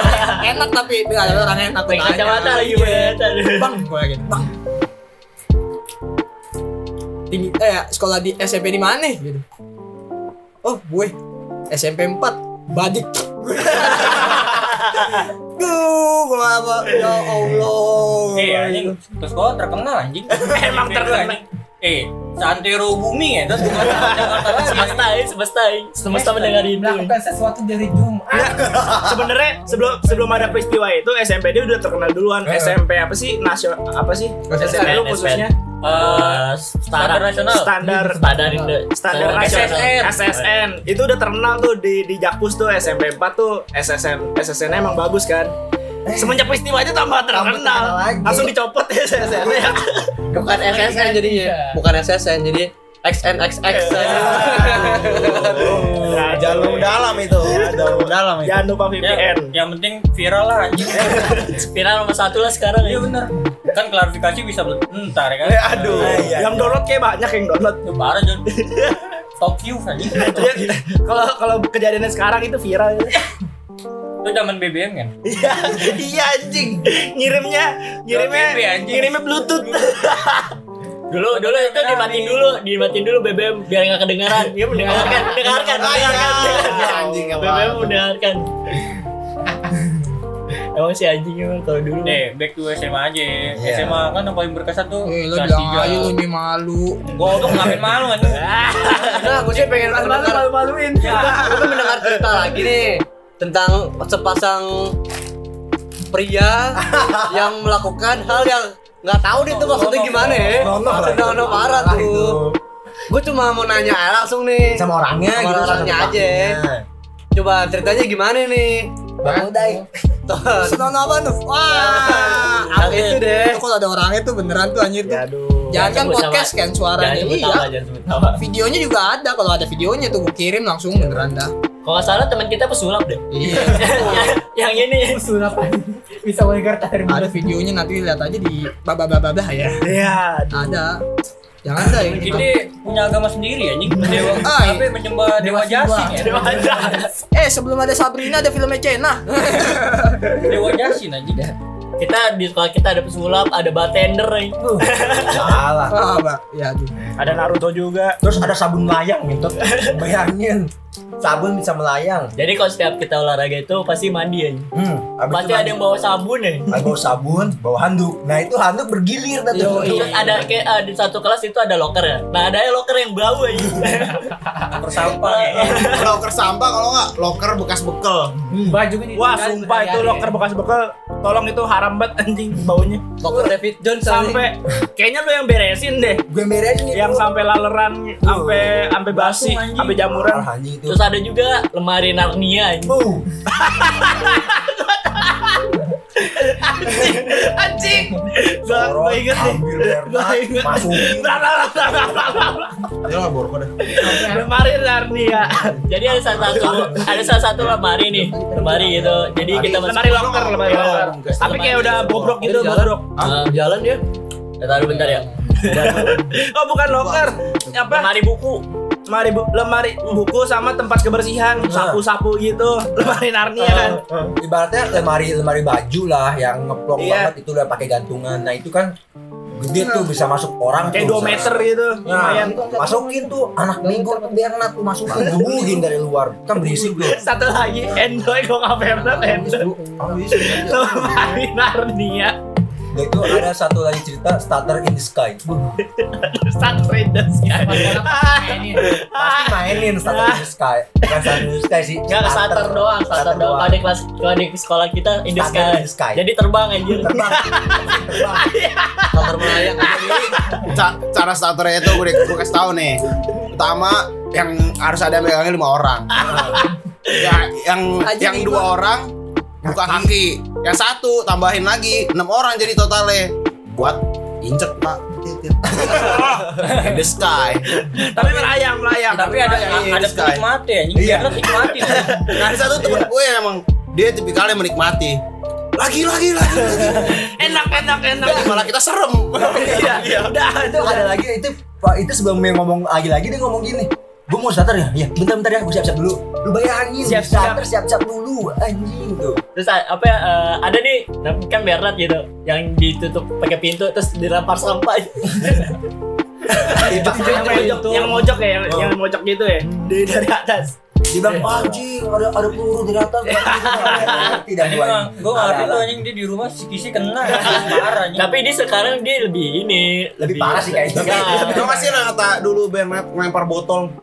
G: enak tapi dia ada orang enak
A: Pakai kacamata lagi kacamata.
G: bang gue lagi bang tinggi eh sekolah di SMP di mana gitu oh gue SMP 4 badik Duh, gue apa? Ya Allah.
A: Iya,
E: Eh, anjing. Terus gue terkenal anjing.
D: Emang
E: SMP gua, anjing. Eh, santero bumi ya. Terus gue
A: Semesta, eh, semesta, eh. semesta
H: Hashtag
A: mendengar itu.
H: Melakukan sesuatu dari Jumat.
D: Sebenarnya sebelum sebelum ada peristiwa itu SMP dia udah terkenal duluan. SMP apa sih nasional apa sih? SMP
A: SPN.
D: lu khususnya
A: Eh, standar nasional.
D: standar
A: Standar Indo-
D: standar nasional SSN itu udah terkenal tuh di di Jakpus tuh SMP 4 tuh SSN SSN -nya emang bagus kan semenjak peristiwa itu tambah
C: Eh. terkenal
D: terkenal
C: lagi.
D: langsung dicopot ya, SSN -nya.
B: Bukan SSN
C: kan
B: jadinya. Bukan SSN jadi XNXX.
C: Iya.
D: Nah,
F: Jalur dalam itu. Jalur dalam itu.
D: jangan lupa
E: Ya,
D: VPN
E: yang penting viral lah anjing.
A: Viral nomor satu lah sekarang
E: Iya
A: ya.
E: bener. Kan klarifikasi bisa ber- entar ya kan.
F: Eh, aduh.
C: Iya.
D: yang download kayak banyak yang download
E: Itu parah Jon. Top view anjing. Itu
D: Dia- kalau kalau kejadiannya sekarang itu viral
E: zaman BBM kan.
D: iya iya anjing ngirimnya ngirimnya
E: Download anjing.
D: ngirimnya bluetooth
A: Dulu dulu itu dimatiin dulu, dimatiin dulu BBM biar nggak kedengaran.
E: Iya,
A: Dia mendengarkan, mendengarkan,
E: Ah,
A: mendengarkan.
F: Anjing
A: BBM
F: apa?
A: mendengarkan. Emang si anjing emang kalau dulu.
E: Nih, Eh, back to SMA aja.
C: Iya.
E: SMA kan yang paling berkesan tuh
G: Eh, lo
E: kelas
G: bilang
E: tiga.
G: aja lo ini malu.
E: Gua tuh ngapain malu kan.
A: Ah,
B: Nah, gue sih pengen mendengar
H: malu-maluin.
G: Ya.
B: Gue pengen mendengar cerita lagi nih tentang sepasang pria yang melakukan hal yang nggak tahu nih tuh maksudnya gimana ya.
G: Eh,
C: Nono lah.
B: Sedang ada parah
C: Parah itu.
B: tuh. Gue cuma mau nanya aja langsung nih.
C: Sama orangnya
B: Sama
C: gitu.
B: orangnya
C: sama
B: aja.
C: tempatnya.
B: Coba ceritanya gimana nih?
C: Bang Uday.
B: Tuh,
G: Senono apa tuh? Wah,
D: Ya,
B: Yang itu deh.
G: Itu kalau ada orangnya tuh beneran tuh anjir tuh. Jangan kan
A: Sebut nama.
G: podcast kan
A: Jangan
G: suaranya.
A: sebut
G: Iya.
A: nama, jangan sebut nama.
G: Videonya juga ada kalau ada videonya tuh gue kirim langsung beneran dah.
A: Kalau nggak salah teman kita pesulap deh.
G: Iya.
A: yang ini
H: Usul apa? Bisa wajar dari
G: ada
H: mulut.
G: videonya nanti lihat aja di babah babah babah ya.
D: iya
G: Ada. Jangan ada yang gitu.
E: Kita punya agama sendiri anjing. Dewa
D: Ah,
G: Ay.
D: iya.
E: apa menyembah dewa jasin ya.
G: Eh sebelum ada Sabrina ada filmnya Cena.
E: Dewa jasin anjing.
A: kita di sekolah kita ada pesulap, ada bartender
D: Uh.
A: itu.
C: Salah.
G: Ah, Mbak. Ya aduh.
D: ada Naruto juga
C: Terus ada sabun melayang gitu. Bayangin. Sabun bisa melayang.
A: Jadi kalau setiap kita olahraga itu pasti mandi ya.
C: Hmm, abis
A: Pasti
C: itu
A: ada yang bawa sabun ya.
C: ada bawa sabun, bawa handuk. Nah, itu handuk bergilir dah tuh.
A: Terus ada kayak eh, di satu kelas itu ada loker ya. Nah, ada loker yang bau ya.
E: Bersampah
C: Eh,
E: ya.
F: Loker sampah kalau nggak loker bekas bekel.
H: Baju gue
A: Iya.
D: wah sumpah itu loker bekas bekal tolong itu haram banget anjing baunya
B: Dokter David Jones
D: sampai kayaknya lo yang beresin deh
C: gue beresin itu
D: yang sampai laleran sampai sampai basi sampai jamuran
C: Parah, anjing itu
A: Terus ada juga lemari Narnia ini.
C: Buh.
D: anjing gak
C: Sorot,
D: gak inget deh
C: ambil air
D: gak
C: tas,
D: inget
C: masukin.
D: Nah, nah, nah, nah, nah, nah, nah, nah.
F: Dia nggak borok dah.
D: lemari Narnia
A: Jadi ada salah satu ada salah satu lemari nih, lemari gitu. Jadi kita
D: lemari Iya, locker lemari locker tapi kayak udah bobrok gitu
B: Jadi jalan.
D: bobrok
A: Eh,
B: Jalan ya.
A: ya, taruh bentar ya.
D: oh bukan locker apa
A: Lemari buku.
D: lemari bu- lemari buku sama tempat kebersihan sapu-sapu gitu lemari Narnia kan
C: ibaratnya lemari lemari baju lah yang ngeplok
D: Iya.
C: banget itu udah pakai gantungan nah itu kan gede tuh bisa masuk orang
D: kayak
C: tuh,
D: 2
C: bisa.
D: meter gitu
C: nah,
D: lumayan
A: gitu.
C: masukin tuh anak minggu Bernard tuh masukin gebukin dari luar kan berisik tuh
D: satu lagi enjoy kok nggak pernah enjoy
A: Oh, iya,
C: Habis, habis.
D: lemari Narnia
C: Dan Nah, itu ada satu lagi cerita starter in the sky Buh,
D: Star Raiders ya
C: pasti mainin starter in the sky bukan starter in the sky sih
A: Enggak starter doang, starter doang. Kalau di kelas kalau di sekolah kita in the
C: Starter in the sky.
A: sky. Jadi terbang anjir.
C: terbang terbang
B: Kantor melayang.
F: Ca- cara starternya itu gue, gue kasih tau nih pertama yang harus ada yang megangnya lima orang ya, yang yang dua orang buka kaki yang satu tambahin lagi enam orang jadi totalnya buat injek pak in the sky
D: tapi melayang melayang
E: Tapi ada ada
A: ya,
F: Sky.
E: penikmatnya anjing. Dia nikmatin.
F: nah ada satu temen gue yang emang dia tipikalnya menikmati lagi lagi lagi, lagi.
D: enak enak enak
F: malah kita serem
D: iya iya udah
C: itu ada lagi itu Pak, itu sebelum dia ngomong lagi lagi dia ngomong gini gue mau starter ya ya bentar bentar ya gue siap siap dulu lu bayangin
D: Siap-siap.
C: starter siap siap dulu anjing tuh
A: Terus a- apa ya, eh, ada nih namanya kan Bernard gitu yang ditutup pakai pintu terus dilempar sampah.
D: yang mojok yang mojok ya yang-
A: Oh.
D: yang mojok gitu ya dari dari atas
C: dia
F: Eh.
C: bilang anjing "Ah, ada ada peluru di atas tidak
E: Ini
C: gua
E: mah gue
C: Ada-
E: ngerti
C: ada.
E: tuh anjing dia di rumah sikisi kena anjing. parah anjing.
A: Tapi dia sekarang dia lebih ini
C: lebih parah sih kayaknya
A: Enggak.
F: Lo masih yang kata dulu Bernard ngelempar botol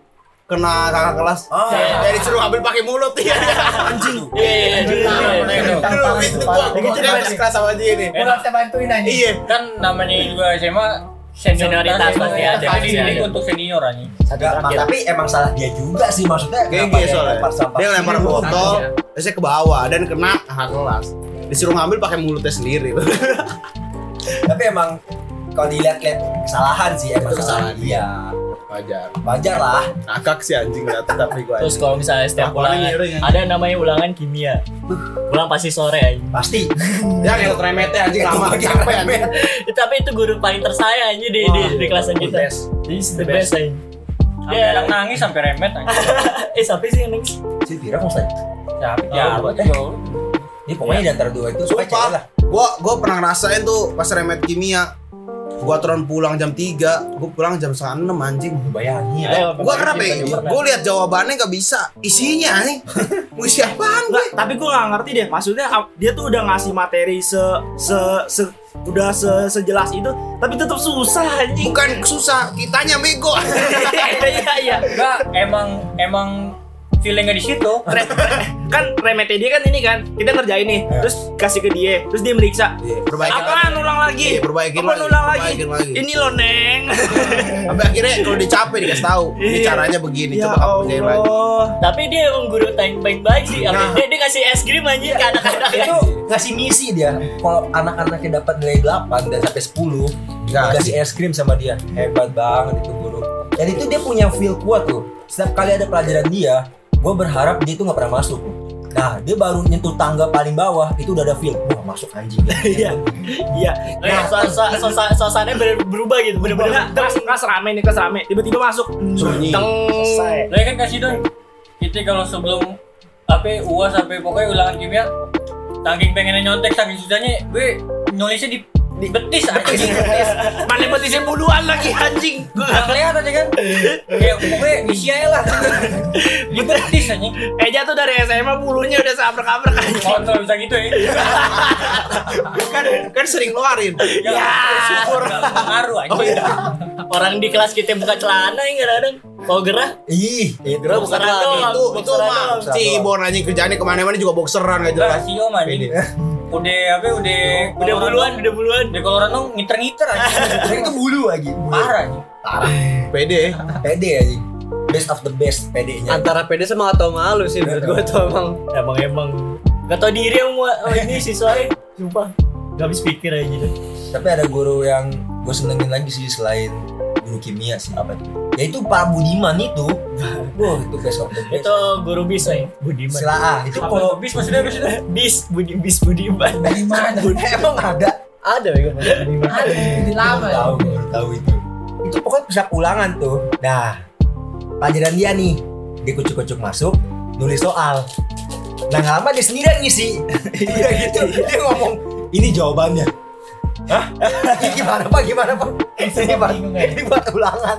F: kena kakak kelas.
C: Oh.
F: Jadi suruh ambil pakai mulut ya. Anjing.
A: Iya, iya, iya, iya.
F: Dulu itu gua gua jadi harus kelas sama dia nih.
H: Gue bisa bantuin aja.
F: Iya.
E: Kan namanya juga SMA senioritas
A: Senioritas pasti ada,
E: Tapi
A: pasti
E: dididik
A: ada.
E: untuk senior anjing.
C: Enggak, Pak, tapi emang salah dia juga sih maksudnya
F: Kayak
C: kenapa
F: gini soalnya.
C: lempar sampah
F: Dia ngelempar
C: Iya,
F: botol, terusnya ke bawah dan kena kakak kelas. Disuruh ngambil pakai mulutnya sendiri.
C: tapi emang kalau dilihat-lihat kesalahan sih emang
F: kesalahan
C: iya
F: Wajar.
C: wajar lah
F: Kakak si anjing jatuh tapi gua.
A: Terus kalau misalnya setiap ulangan
F: Laporannya miring,
D: ya.
F: anjing.
A: ada namanya ulangan kimia. Pulang pasti sore anjing.
C: pasti
F: Ya yang remete anjing lama capek anjing.
A: Ya, tapi itu guru paling tersayang aja di, di, di kelasan kita. Jadi
F: Hmm.
A: he's the best aja.
E: Sampai
A: Ya,
E: anak nangis sampai remet anjing.
A: eh siapa sih yang nangis?
C: si Vira mau saya
E: Tapi ya apa juga. lu.
C: ini pokoknya di antara dua itu supaya
F: Iya. Sumpah.
C: cewek lah
F: Gua gua pernah ngerasain tuh pas remet kimia. Gua turun pulang jam 3, gua pulang jam setengah 6 anjing.
C: bayangin
A: Ayo,
F: Iya. Gua kenapa ya? Gua lihat jawabannya gak bisa. Isinya nih. Mau isi apaan gua?
D: Nggak, tapi gue nggak ngerti deh maksudnya ap- dia tuh udah ngasih materi se se, se- udah se- sejelas itu tapi tetap susah anjing
F: Bukan susah, kitanya bego.
D: iya iya
E: Enggak, emang emang feelingnya di situ.
D: Re- re- kan remete dia kan ini kan kita ngerjain nih
F: Iya.
D: terus kasih ke dia terus dia meriksa
F: Perbaikin
D: apaan ulang lagi
F: Iya, perbaikin
D: Apaan
F: lagi,
D: ulang lagi
F: perbaikin lagi.
D: ini loh neng
F: Sampai akhirnya kalau dia capek dikasih tahu, ini
D: Iya.
F: caranya begini,
D: ya
F: coba kamu kerjain lagi. Nah.
D: Allah
A: Tapi dia emang guru tank baik baik sih. Apa? Dia, dia kasih es krim
D: Iya.
A: anjing ke anak-anak.
C: itu ngasih misi dia kalau anak-anaknya dapat nilai 8 dan sampai 10
F: Ya.
C: dikasih es krim sama dia hebat banget itu guru dan itu dia punya feel kuat loh setiap kali ada pelajaran dia gue berharap dia itu nggak pernah masuk loh. nah dia baru nyentuh tangga paling bawah itu udah ada feel wah masuk anjing
D: iya iya
A: Nah, suasana suasananya bener- berubah gitu, bener-bener.
D: Enggak, kelas kelas rame nih kelas rame tiba-tiba masuk
F: Sunyi.
D: teng
E: Lah kan kasih dong. Kita kalau sebelum apa UAS sampai pokoknya ulangan kimia saking pengennya nyontek saking susahnya gue nulisnya di di betis anjing.
D: mana petisnya puluhan lagi anjing
E: Gak kelihatan ya kan? Ya pokoknya isi aja lah. Di betis anjing.
D: Eja tuh dari SMA bulunya udah seabrek-abrek anjing
E: Kalau nggak bisa gitu ya.
F: Kan kan sering ngeluarin.
E: Ya, syukur nggak pengaruh anjing.
A: Orang di kelas kita buka celana yang kadang kalau gerah
C: ih itu
A: Gerah bukan
F: Itu itu mah
C: doang.
F: si Bon anjing kerjaannya kemana-mana juga boxeran gak jelas.
E: Rasio anjing.
A: udah apa ya, udah
D: Udah buluan, udah buluan.
A: udah kalau orang ngiter-ngiter aja
C: Saya itu bulu lagi. bulu.
A: parah aja
F: Pede.
C: Pede aja. Best of the best PD-nya.
B: Antara pede sama atau malu sih menurut gue tuh emang
D: Emang emang gak tau diri emang oh, ini siswanya. Sumpah gak habis pikir aja gitu.
C: Tapi ada guru yang gue senengin lagi sih selain guru kimia sih. Apa itu? Ya itu Pak Budiman itu. Wah, itu best of the best.
D: Itu guru bis eh. nih, Budiman.
C: Sila A. Itu
A: Apa
C: kalau
A: bis maksudnya bis
D: Bis, Budi, bis Budiman.
H: Dari mana?
C: emang ada
B: ada ya
H: Ada di lama. ya?
C: tahu baru tahu itu itu pokoknya bisa ulangan tuh nah pelajaran dia nih dia kucuk-kucuk masuk nulis soal nah nggak lama dia sendiri yang ngisi iya gitu dia ngomong ini jawabannya Hah? Ini gimana pak? Gimana pak? Ini pak,
H: bingung ya?
C: ini buat ulangan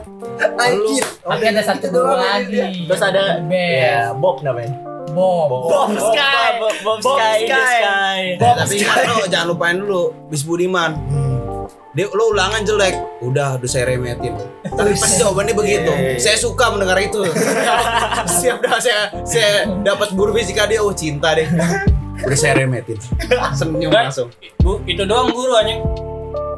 C: Anjir
H: Tapi ada satu
C: Itu
H: dua
C: doang
H: lagi.
C: dia.
D: Terus ada- Ya,
H: Best.
D: Bob namanya.
H: Bob.
D: Bob Sky, Bob, Bob,
K: Bob
D: Sky,
K: Sky.
D: The Sky.
F: Tapi ingat lo, jangan lupain dulu Bis Budiman. Dia lo ulangan jelek. Udah, udah saya remetin.
B: Eh,
F: Tapi pasti jawabannya begitu. Saya suka mendengar itu. Siap dah saya saya dapat guru fisika dia oh cinta deh. Udah saya remetin. Senyum
A: Enggak.
F: langsung.
A: Bu, itu doang guru anjing.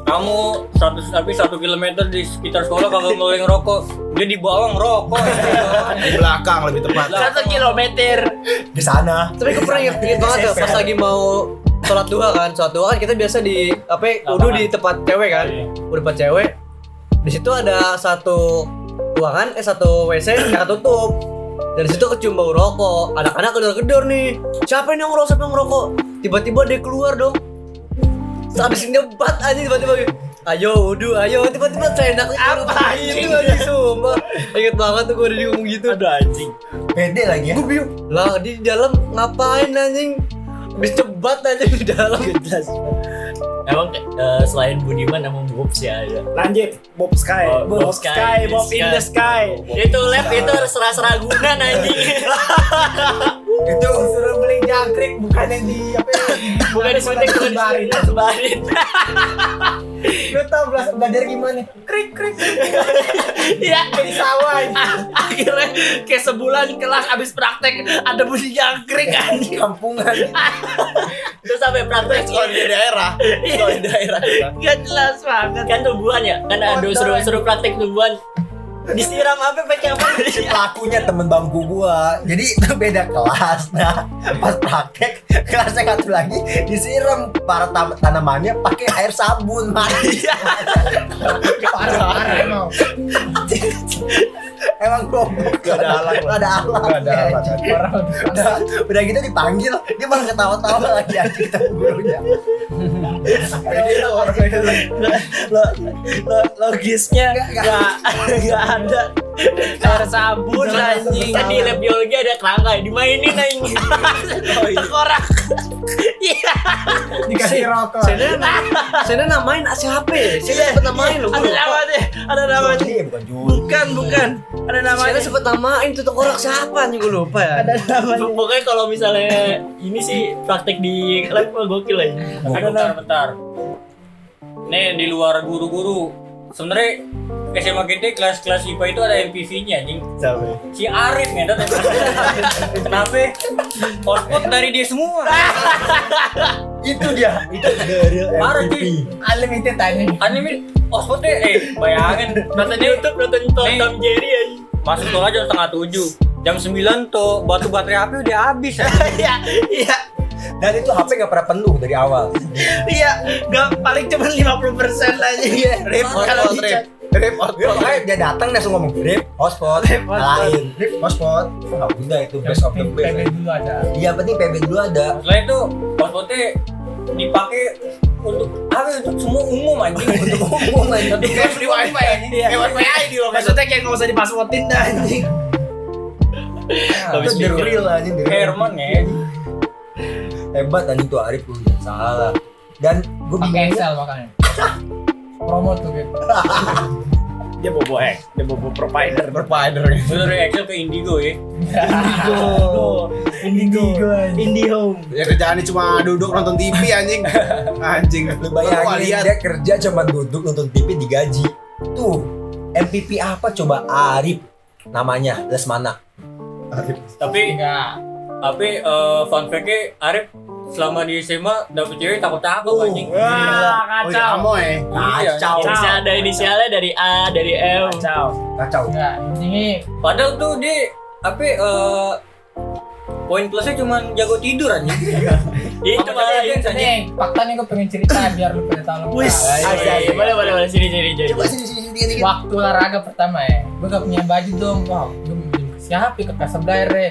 A: Kamu 100 tapi 1 kilometer di sekitar sekolah kagak boleh ngerokok. Dia di bawah ngerokok.
F: Di belakang lebih tepat.
D: Satu kilometer.
C: Iya. di sana.
B: Tapi gue pernah inget inget banget tuh pas lagi mau sholat duha kan, sholat duha kan kita biasa di apa ya, wudhu di tempat cewek kan, wudhu tempat cewek. Di situ ada satu ruangan, eh satu WC yang tutup. Dari situ kecium bau rokok, anak-anak gedor-gedor nih. Siapa ini yang ngerokok, siapa yang ngerokok? Tiba-tiba dia keluar dong. Terus Abis nyebat aja tiba-tiba Ayo wudhu, ayo tiba-tiba seenaknya Apa itu lagi sumpah Ingat banget tuh gue udah diomong gitu
D: Aduh anjing.
C: Pede lagi ya.
B: gue bingung lah di dalam ngapain anjing habis cebat anjing di dalam jelas
D: Emang eh, selain Budiman emang Bob sih
A: ya,
D: ada.
K: Lanjut, Bob Sky.
D: Oh,
K: Bob,
D: Bob Sky,
K: Sky, Bob
D: Sky.
K: in the Sky.
D: Itu lab itu serah-seragunan anjing.
C: Itu
H: Suruh beli jangkrik bukan yang di apa ya?
D: Bukan disuntik, bukan
H: Disebarin.
D: disuntik, sebarin.
H: Lu tau belas belajar gimana? Krik krik.
D: Iya.
H: Jadi sawah.
D: Akhirnya kayak sebulan kelas abis praktek ada bunyi jangkrik anjing.
H: Kampungan.
D: Terus sampai praktek
F: Kalau di daerah,
D: Iya.
F: kalau di daerah.
D: Gak jelas banget. Kan tubuhan ya? Kan ada suruh-suruh praktek tubuhan. Disiram apa pakai apa?
C: pelakunya temen bangku gua jadi itu beda kelas nah pas praktek kelasnya satu lagi disiram para tam- tanamannya pakai air sabun mati
F: Iya.
H: Parah parah emang.
C: emang goblok
F: Gak ada alat,
C: Gak ada alat
F: Gak ada alat.
H: Orang
C: udah, udah gitu dipanggil dia malah ketawa-tawa lagi aja kita gurunya
F: gitu,
D: Lo- lo- logisnya
C: Nggak, nggak.
D: nggak nggak ada cara sabun anjing kan di lab biologi ada kerangka dimainin anjing
K: Oh,
D: tengkorak iya
H: dikasih rokok.
B: Sena Sena namain siapa ya? Sena sempet namain loh
D: ada namanya ada namanya
C: Iya, bukan juri
D: bukan bukan ada
B: Sena
D: namanya
B: sempet namain tuh orang siapa anjing gue lupa ya
D: pokoknya kalau misalnya ini sih praktek di lab wah, gokil ya
A: Aduh, bentar, bentar. Nih di luar guru-guru. Sebenarnya SMA kita kelas-kelas IPA itu ada MPV-nya anjing. Si Arif nih dat. Kenapa? Output dari dia semua.
D: Ah!
C: itu dia itu the real
A: Parah,
C: MVP
H: Unlimited tanya.
A: Anime output deh, eh bayangin.
D: nonton YouTube nonton Tom
A: Nih.
D: Tom Jerry anjing
A: Masuk sekolah jam setengah tujuh Jam sembilan tuh batu baterai api udah habis ya.
D: iya iya
C: dan itu HP gak pernah penuh dari awal
D: iya nggak paling cuma 50% aja
F: Rip,
D: Kalau
F: output, rip.
D: dicat.
F: Rip, output.
C: Dia makanya dia datang langsung ngomong Rip, hotspot, lain Rip, hotspot Nah, udah itu best of the best
H: PB dulu ada.
C: Iya, yang penting PB dulu ada
A: Setelah itu outputnya dipakai untuk apa ya, untuk semua umum anjing untuk
C: Oh
A: umum anjing untuk free
C: Iya.
A: wifi anjing
D: Iya.
A: kayak wifi aja di lokasi
K: Maksudnya kayak nggak usah dipasswordin dah anjing.
C: Itu the real aja the real.
A: Herman ya
C: Hebat anjing tuh Arif lu jangan salah Dan gue
H: Pakai
C: bingungnya
H: Excel makanya. Promo tuh gitu.
K: Dia bobo hack, dia bobo provider.
F: Provider.
A: Itu dari Excel ke Indigo ya
H: Indigo.
D: Indie Home
F: Ya kerjaannya cuma duduk nonton TV anjing. Anjing.
C: Lu
F: Gua
C: bayangin
F: lihat.
C: dia kerja cuma duduk nonton TV digaji Tuh MPP apa coba Arif namanya Lesmana
A: tapi Iya.
H: Enggak.
A: tapi eh, fun fact-nya Arif
E: selama di SMA dapet cewek takut
K: Oh.
E: takut anjing.
H: Wah,
A: Oh, iya,
H: kacau.
F: Amoy.
C: Iya,
E: Kacau.
A: Inisial ya. ada inisialnya dari A, dari M.
H: Kacau.
F: Kacau.
H: Ya, ini
E: Padahal tuh dia apa eh poin plusnya cuma jago tidur anjing.
A: Itu malah
E: dia
A: itu.
E: anjing.
H: nih fakta nih gue pengen cerita biar lu pada tahu. lebih.
A: Wis. Ayo, Iya, boleh boleh boleh sini sini jadi.
H: Waktu olahraga pertama ya, gue gak punya baju dong. Wow, gue minjem ke siapa? ya? Ke Kasablanca. Re.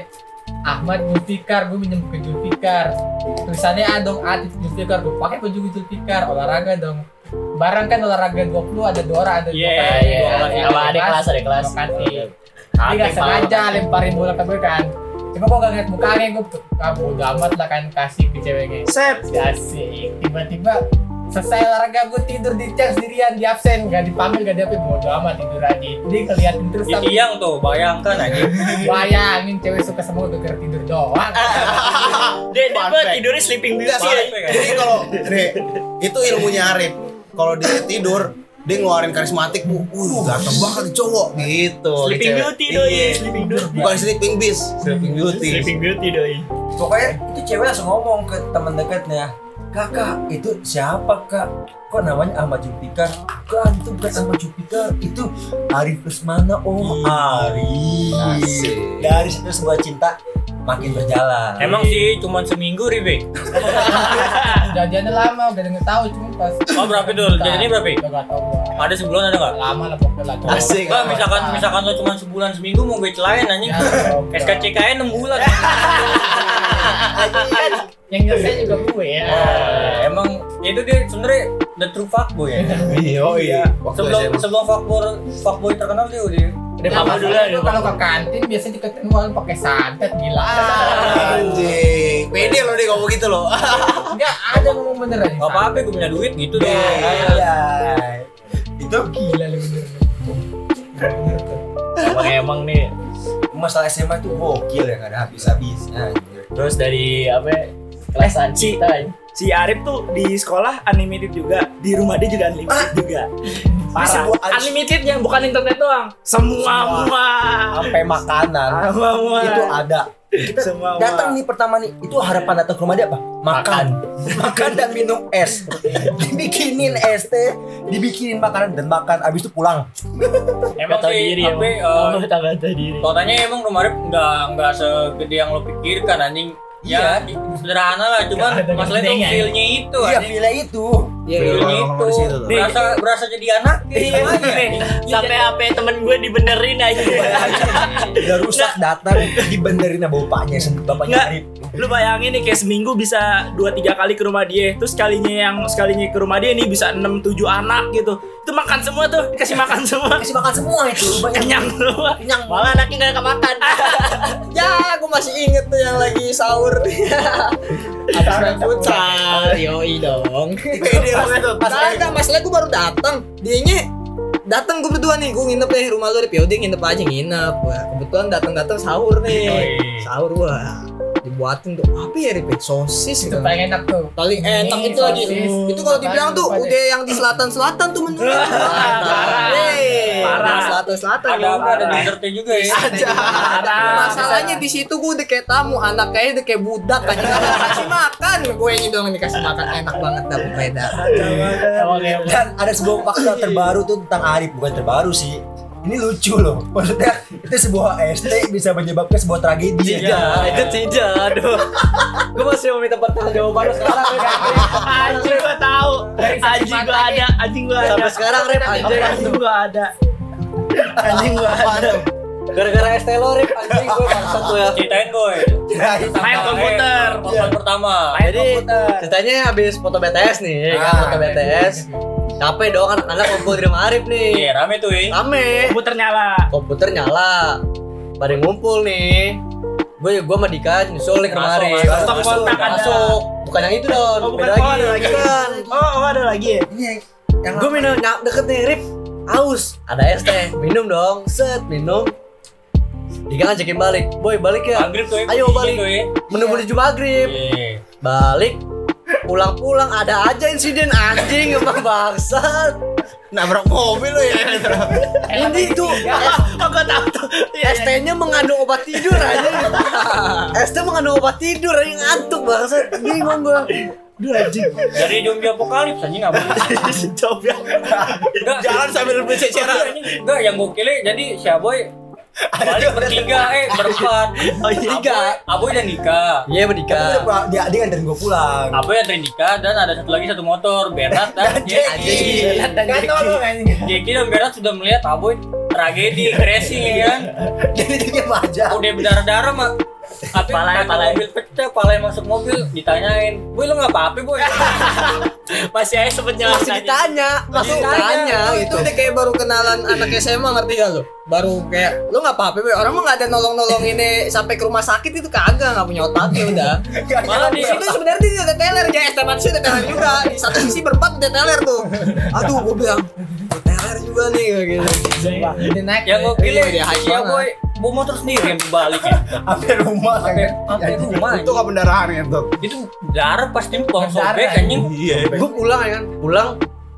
H: Ahmad Julfikar, gue minjem ke Julfikar. Tulisannya A dong, A titik Julfikar. Gue pakai baju Julfikar, olahraga dong. Barang kan olahraga 20 ada Dora, ada
A: Iya,
H: Dora,
A: iya. Sama ada kelas,
E: iya.
A: ada kelas. Apa
H: Lokasi. Dia gak
A: yang
H: sengaja
A: parah?
H: lemparin bola ke gue kan Cuma gue gak ngeliat mukanya, gue ah, bodo amat lah kan kasih ke ceweknya
D: Set.
H: Kasih, Ya, tiba-tiba selesai olahraga gue tidur di chat sendirian di absen Gak dipanggil, gak diapain, bodo amat tidur aja Dia ngeliatin terus
E: Di
H: tapi
E: tiang Iya, tuh bayangkan
A: Iya.
E: anjing.
H: bayangin cewek suka sama gue gara tidur doang
A: Dia dia gua tidurnya sleeping beauty.
F: Enggak sih.
A: ya.
F: Jadi kalau nih itu ilmunya Arif. Kalau dia tidur dia ngeluarin karismatik bu, uh ganteng banget nih cowok gitu. Ini
A: Sleeping
F: cewek.
A: beauty doi,
F: Iya.
A: sleeping beauty.
F: Bukan sleeping beast, sleeping beauty.
A: Sleeping beauty doi.
C: Pokoknya itu cewek langsung ngomong ke teman dekatnya, kakak itu siapa kak? Kok namanya Ahmad Jupiter? Bukan, itu bukan Ahmad Jupiter, itu Arif Lesmana. Oh Arif. Dari situ sebuah cinta makin berjalan.
E: Emang sih cuma seminggu ribe.
H: Jadiannya lama, udah denger tahu cuma pas
E: Oh, berapa, Dul? Jadiannya berapa?
H: Udah Gak tau gue
E: Ada sebulan ada nggak?
H: Lama lah pokoknya lah
A: Iya,
F: Asik.
E: Enggak, misalkan misalkan lo cuma sebulan seminggu mau gue celain anjing.
A: Iya.
H: Ya, goblok.
E: SKCKN 6 bulan.
H: Yang nyelesain juga gue ya
E: Eh, Emang itu dia sebenarnya the true fuckboy ya.
F: Oh iya. Waktu
E: Sebelum
F: SMA.
E: sebelum fuckboy fuckboy terkenal dia udah
H: Udah
A: Apa
H: papa
A: dulu
H: dulu
A: ya,
H: lu
A: apa
H: kalau ke kantin biasanya diketin wal pakai santet gila.
E: Ah.
F: Anjing. Pede lo deh ngomong gitu lo.
H: Enggak ada ngomong bener aja.
A: ya.
E: Gak apa-apa gue punya duit gitu
A: Iya,
E: dong.
F: Itu
H: Gila lu bener.
A: Emang emang nih.
C: Masalah SMA itu gokil ya, gak ada habis-habisnya. anjir.
A: Terus dari apa? ya, Kelas anci tadi.
D: Si Arif tuh di sekolah unlimited juga, di rumah dia juga unlimited juga. Parah.
C: sebuah-
D: Unlimited yang bukan internet doang. Semua muah.
C: Sampai makanan
D: Semua muah.
C: itu ada.
D: Semua muah.
C: Datang nih pertama nih, itu harapan datang ke rumah dia apa? Makan. Makan dan minum es. Dibikinin es teh, dibikinin makanan dan makan abis itu pulang.
E: Emang
A: Gak tahu
E: sih
A: diri,
E: apa
A: Oh,
E: eh,
A: tambah tahu diri.
E: kotanya emang rumah Arif nggak nggak segede yang lo pikirkan anjing. Ya, sederhana lah, cuman
A: ada
E: masalahnya tuh
A: gedean.
E: feel-nya itu
C: Iya,
E: anjing.
C: villa itu.
E: Feel-nya
F: Ngomong-ngomong di situ
E: itu.
F: tuh.
E: Berasa berasa jadi anak. gitu
D: Iya, nih.
A: Sampai
C: iya,
A: HP
D: ya
A: temen gue dibenerin aja.
C: udah rusak datang dibenderinnya bapaknya sendiri bapaknya
D: Nggak.
C: Arif
D: Lu bayangin nih kayak seminggu bisa 2-3 kali ke rumah dia Terus kalinya yang sekalinya ke rumah dia nih bisa 6-7 anak gitu Itu makan semua tuh, dikasih makan semua
C: kasih makan semua ya. Iya, itu banyak
D: Kenyang semua
A: Malah anaknya gak kemakan.
G: Ya, aku masih inget tuh yang lagi sahur. Abis main futsal. Iya,
A: Yoi dong.
F: pede lo itu.
G: Kagak, masalah gue baru datang. Dianya datang gue berdua nih, gue nginep deh rumah lu di Yaudah nginep aja nginep. Wah, kebetulan datang-datang sahur nih. Sahur wah dibuatin tuh apa ya Rip? Sosis
H: Itu
G: gitu.
H: paling enak tuh.
G: Paling
H: Ini,
G: enak itu lagi.
H: sosis.
G: Itu kalau dibilang tuh
H: Apaan,
G: udah yang di selatan-selatan tuh menu.
D: Parah. Parah.
G: Selatan-selatan.
E: Ada apa ada dessertnya juga ya.
D: Parah.
G: Masalahnya di situ gue udah kayak tamu, anaknya udah kayak budak kan. Kasih makan, gue ini doang yang dikasih makan enak banget dah pokoknya dah.
A: Emang emang.
C: dan Kan ada sebuah fakta terbaru tuh tentang Arif bukan terbaru sih ini lucu loh maksudnya itu sebuah ST bisa menyebabkan sebuah tragedi
B: Iya. Ah,
A: itu tidak. Aduh.
B: Gue masih meminta pertanggungjawaban lu sekarang ya.
D: Anjing gua tahu Anjing gua ada, anjing gua ada
G: Sampai sekarang rep anjing.
D: Anjing gua ada Anjing gua ada
B: Gara-gara ST lo Rip anjing gue bangsat lu ya.
E: Ceritain boy.
C: Iya.
D: Main komputer Iya.
E: Pertemuan pertama.
B: Jadi ceritanya habis foto BTS nih, ya
G: Ah,
B: kan
G: iya,
B: foto BTS. Capek dong anak-anak kumpul di rumah Arif
E: Iya,
B: nih.
E: rame tuh ya.
B: Rame.
D: Komputer nyala
B: komputer nyala pada ngumpul nih gue gue sama Dika nyusul nih kemarin
E: masuk,
D: masuk, kontak ada.
B: masuk bukan yang itu dong
D: Oh bukan,
B: beda
D: oh ada
B: lagi Kan.
D: lagi
B: bukan
D: Oh oh, ada lagi ya
B: gue minum nyak deket nih Rip haus ada es teh minum dong set minum Dika ngajakin balik boy balik ya
E: Maghrib tuh ya.
B: ayo
E: bunyi
B: balik
E: tuh ya.
B: menunggu menuju maghrib
E: Iya.
B: balik pulang-pulang ada aja insiden anjing emang bangsat
F: nabrak mobil lu ya
L: Ini tuh
D: Oh, gua tahu tuh. Iya, iya.
L: ST-nya mengandung obat tidur aja. ST mengandung obat tidur aja ngantuk banget. Bingung gua. Duh anjing.
A: Jadi zombie apokalips anjing nggak boleh.
D: Coba.
A: Enggak,
F: jalan sambil berseceran
A: enggak yang gokilnya jadi si Aboy balik bertiga eh berempat.
D: Oh, iya.
A: Aboy- Aboy dan nikah.
B: Iya menikah.
C: dia dia nganterin gue pulang
A: Aboy dan Rindika ya, dan ada satu lagi satu motor Bernard dan Jeki.
F: Gak tolong anjing
A: Jeki dan Bernard sudah melihat Aboy tragedi racing ya kan.
C: jadi dia aja
A: udah berdarah darah mah tapi
M: Palanya-
A: kata
M: palanya.
A: mobil pecah palanya masuk mobil ditanyain boy lu nggak apa apa boy
M: Masih aja sempet
B: Iya,
L: Masih
M: nyelamatin.
L: ditanya, masih
A: ditanya,
L: ditanya gitu.
B: Itu Iya, udah kayak baru kenalan anak SMA ngerti gak lu? Baru kayak lu nggak apa-apa, Boy. orang mah nggak ada nolong-nolong ini sampai ke rumah sakit itu kagak nggak punya otak ya udah.
A: malah di
L: Itu sebenarnya dia udah teler ya STMAT sih udah teler juga. Di satu sisi berempat udah teler tuh. Aduh gua bilang
B: Teler juga nih kayak gitu.
H: Ini naik.
A: yang gue pilih
B: Iya, dia hype
A: ya
B: banget.
A: boy bawa motor sendiri yang dibalik ya
C: sampai rumah
A: sampai sampai rumah
F: Itu
A: anjing.
F: gak pendarahan ya tuh
A: itu darah pas timpong
H: Berdarah,
A: sobek anjing
F: Iya
B: Gue pulang ya kan, pulang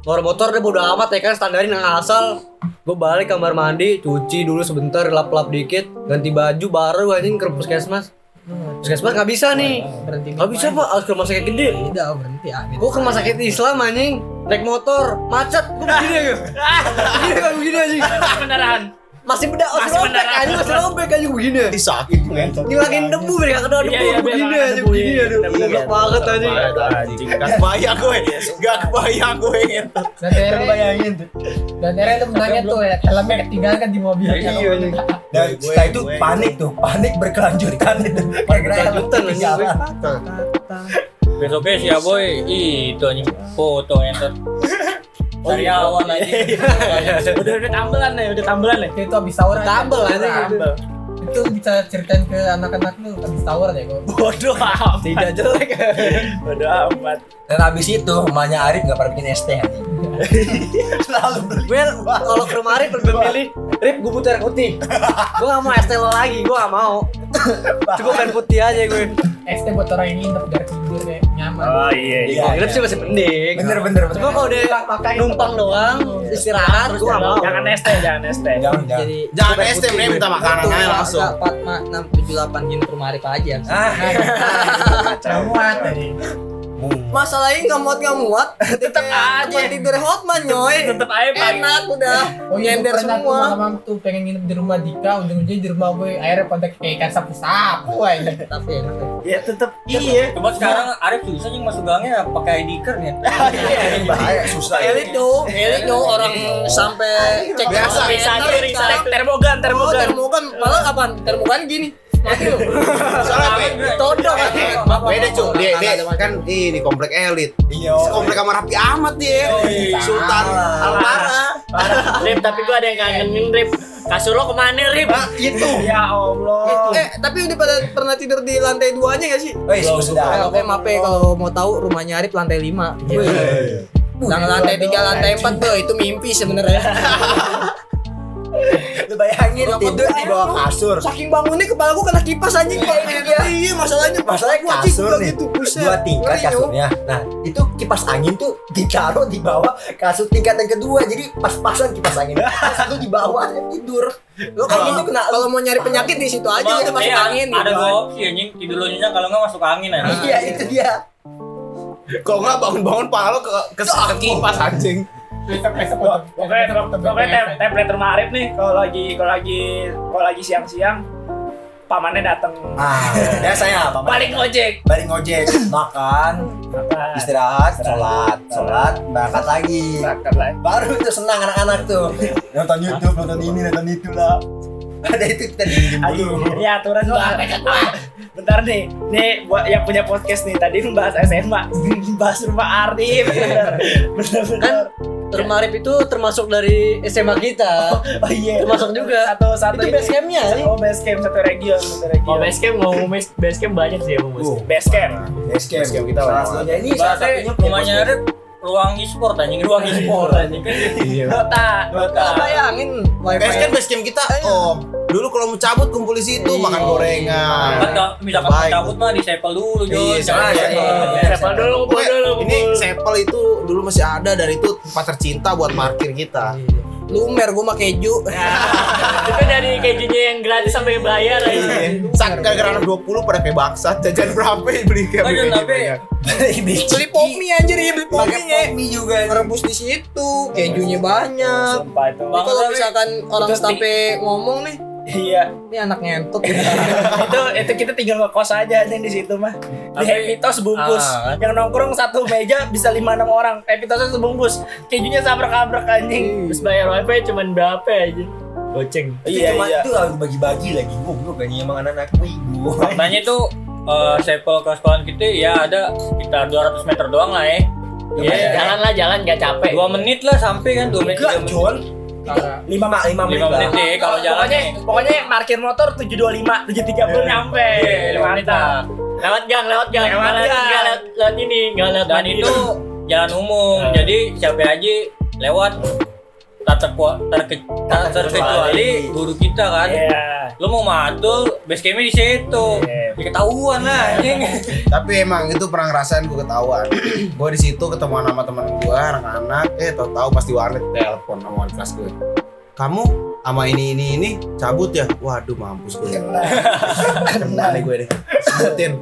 B: Luar motor udah bodo amat ya kan standarin yang asal Gue balik kamar mandi, cuci dulu sebentar, lap-lap dikit Ganti baju baru anjing ke puskesmas Puskesmas gak bisa nih
H: Berhenti.
B: Gak bisa pak, harus ke rumah sakit gede
L: udah berhenti ah.
B: Gue ke rumah sakit Islam anjing Naik motor, macet, gue begini aja Begini kan begini anjing
M: Beneran.
B: Masih beda, masih
M: Masih
B: lobek
M: beneran.
B: anjing, masih lobek anjing begini
F: Ini sakit ngentot
B: Ngilangin debu, biar gak kena
M: Iya,
B: debu,
M: iya, biar
B: begini
M: gak kena
B: aja,
M: debu,
B: begini
M: iya,
B: aduh
M: bener-bener.
B: Goblok banget anjing
F: Anjing, Gak kebayang gue Gak kebayang gue ngentot
H: Dan Ere, dan Ere tuh menanya tuh ya, helmnya ketinggalan kan di mobil.
B: Iya anjing
C: dan
F: Gue-
C: Nah, setelah itu
F: gue-
C: panik tuh panik berkelanjutan itu
B: Berkelanjutan, anjing.
C: Ketinggalan.
A: besoknya si aboy ih, ya, itu anjing foto enter Sariawan anjing
M: Udah udah tambelan nih, udah tambelan nih.
H: Itu abis sahur aja.
B: Tambel anjing
M: Tambel.
H: Iya. Itu bisa ceritain ke anak-anak lu ya, abis sahur deh gua.
M: Bodoh amat.
B: Tidak jelek
M: Bodoh amat.
C: dan abis itu emaknya Arif gak pernah bikin ST anjing selalu beli
B: Gue kalau ke rumah Arif lebih milih Rip gue butuh air putih Gue gak mau es teh lo lagi, gue gak mau Cukup air putih aja gue
H: ST Eh, buat orang yang nginep biar tidur deh, nyaman.
D: Oh iya. iya.
B: Ya, Rip sih masih mending
C: bener bener bener
B: Cuma kalau udah numpang doang, istirahat, gue gak mau
M: Jangan
D: ya.
M: ST, jangan ST.
C: jangan jangan
L: Jadi
F: Jangan
L: cukup air
F: ST,
L: putih,
F: mending
L: gue.
F: minta makanan
L: Satu,
F: aja
L: enggak,
F: langsung.
L: enggak, Empat, ma- enam, tujuh, delapan gini ke rumah Arif aja.
C: Ah,
H: Muat tadi.
L: Masalahnya nggak muat nggak muat. Tetap aja. tidur Hotman nyoy.
M: Tetep aja pagi.
L: Enak udah.
H: Oh iya, gue
L: Nyender
H: pernah tuh
L: semua.
H: malam tuh pengen nginep di rumah Dika, ujung-ujungnya di rumah gue akhirnya pada kayak ikan sapu-sapu aja.
L: Tapi enak.
D: Ya tetap iya.
A: cuma sekarang Arif susah anjing masuk gangnya pakai diker nih
F: Bahaya susah
L: Elit dong, elit dong orang sampai cek
F: Biasa.
M: Bisa
L: Biasa.
M: aja riset. Termogan,
L: Oh,
M: termogan.
L: termogan malah kapan? Termogan gini.
F: Soalnya be-
L: Todong.
F: Beda cuy Dia dia kan ini komplek elit
C: iya
F: Komplek sama Rapi Ahmad dia Sultan Almara
M: Parah. Rip, tapi gua ada yang kangenin Rip. Kasur lo kemana Rip?
F: Itu
C: Gitu.
D: Ya Allah.
L: Eh, tapi udah pada pernah tidur di lantai duanya gak sih?
C: wes sudah Gitu.
L: Oke, mape kalau mau tahu rumahnya Arif lantai 5. Jangan lantai 3, lantai 4, tuh itu mimpi sebenarnya.
C: iya. lu bayangin
L: Kenapa
C: tidur di bawah kasur
L: Saking bangunnya kepala gua kena kipas anjing kalau ini dia. Iya, masalahnya
C: masalahnya
L: gua anjing
C: kasur
L: juga
C: nih
L: gitu. Buset.
C: dua tingkat
L: Ngeri, yo.
C: kasurnya nah itu kipas angin tuh ditaruh di bawah kasur tingkat yang kedua jadi pas-pasan kipas angin satu di bawah dia tidur
L: Lo kalau itu kena kalau mau nyari penyakit di situ aja udah masuk angin.
A: Iya, ada
L: gitu.
A: dua opsi anjing tidur lo nyenyak kalau nggak masuk angin anjing
C: iya itu dia
F: Kalau nggak bangun-bangun pala lo ke ke ke kipas anjing
H: Besok-besok
D: Pokoknya, pokoknya tem- template rumah Arif nih kalau lagi kalau lagi kalau lagi siang-siang pamannya datang
C: ah ya saya apa
M: Balik ojek.
C: balik ngojek makan
D: Apa?
C: istirahat sholat sholat berangkat lagi
D: Berangkat lagi.
C: baru itu senang anak-anak tuh nonton YouTube nonton ini nonton itu lah ada itu kita diem
D: Aduh, ini aturan banget. Bentar nih, nih buat yang punya podcast nih tadi membahas SMA, bahas rumah Arif.
M: Iya.
D: Bener, bener, bener.
B: Kan rumah Arif itu termasuk dari SMA kita
D: Oh iya.
M: Kan
B: Termasuk juga
D: Satu satu
B: Itu base campnya nih
D: Oh base camp satu region, satu
M: Mau
D: region.
M: Oh, base camp, mau base, base camp banyak sih emang base camp.
D: Base camp.
C: escape
F: Escape kita
C: salah
F: lewat.
C: satunya ini salah
A: Berarti
C: satunya
A: rumahnya Arif ruang e-sport anjing, ruang e-sport anjing. Kan
D: Kota.
L: Nggak bayangin
F: Basecamp basecamp kita om Dulu kalau mau cabut kumpul di situ makan gorengan.
A: Atau misalkan
F: Baik.
A: cabut mah di sepel dulu, Jun.
F: Iya,
A: Jangan
F: iya,
A: sepel.
F: iya.
N: Siapa dulu, kumpul
F: Pokoknya
N: dulu,
F: ini
N: kumpul.
F: sampel itu dulu masih ada dan itu tempat tercinta buat parkir kita.
B: Lumer gua mah keju.
G: Nah,
N: Itu dari kejunya yang gratis sampai bayar aja.
F: Saat gara-gara anak 20 pada kayak baksa jajan berapa ya beli kayak
A: Oh, Jun,
F: kayak
A: tapi
F: banyak.
B: Beli pop mie anjir ya beli pop
F: Pakai
B: mie.
F: pop mie juga.
B: Rebus di situ, kejunya banyak.
D: Sumpah itu.
B: Ini Kalau
A: Bang,
B: misalkan orang sampai ngomong nih,
D: Iya.
B: ini anak ngentot.
D: itu itu kita tinggal ngekos aja aja di situ mah di
N: Tapi-
D: Happy Toast bungkus
N: Ah.
D: yang nongkrong satu meja bisa lima enam orang Happy Toast sebungkus kejunya sabrak abrak anjing
N: Terus bayar wifi cuman berapa
D: ya,
N: aja? Goceng.
D: iya
C: cuma
D: iya
C: itu harus bagi-bagi lagi goblok kan emang anak-anak wibu.
A: Faktanya itu eh, sepel ke sekolah kita ya ada sekitar 200 meter doang lah ya.
N: Ya, jalan lah jalan gak capek.
A: 2 menit lah sampai kan 2 menit.
C: Enggak,
A: tiga menit.
C: John.
H: Parah.
C: Lima ma- lima
A: 5
C: menit. lah.
A: menit deh kalau jalan.
D: pokoknya pokoknya parkir motor tujuh dua lima tujuh tiga puluh nyampe
A: Iya,
D: mantap
N: Lewat gang, lewat gang.
D: Lewat
N: Nggak
D: gang.
N: nggak lewat, lewat ini, nggak lewat
A: dan
N: Mandiri.
A: itu jalan umum jadi siapa aja lewat tak terkua- terke- tak terkecuali guru kita kan
D: Iya.
A: lu mau matul base campnya di situ
D: Iya.
A: Ya ketahuan lah anjing
F: Tapi emang itu pernah ngerasain gue ketahuan. gue di situ ketemu sama teman gue anak-anak, eh tau tau pas di warnet telepon sama wali kelas gue. Kamu sama ini ini ini cabut ya? Waduh mampus gue. Kena nih gue deh. Sebutin.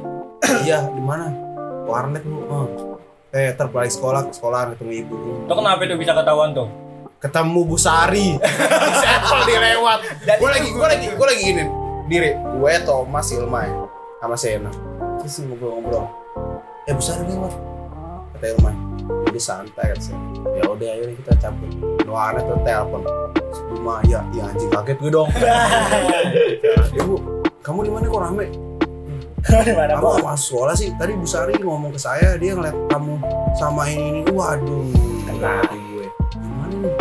F: Iya di mana? Warnet lu. Oh. Eh terbalik sekolah ke sekolah ketemu ibu gue.
A: lo kenapa itu bisa ketahuan tuh
F: Ketemu Bu Sari. Di Sepel dilewat. Gue lagi gue lagi gue lagi gini. Diri gue Thomas Ilma ya, sama Sena. Terus ngobrol-ngobrol eh besar lewat kata Irman jadi santai kan saya ya udah ayo nih kita cabut Noana tuh telepon sebelum Maya ya anjing kaget gue dong ibu kamu di mana kok rame kamu gak masuk sekolah sih tadi Bu Sari ngomong ke saya dia ngeliat kamu sama ini ini waduh hati gue gimana nih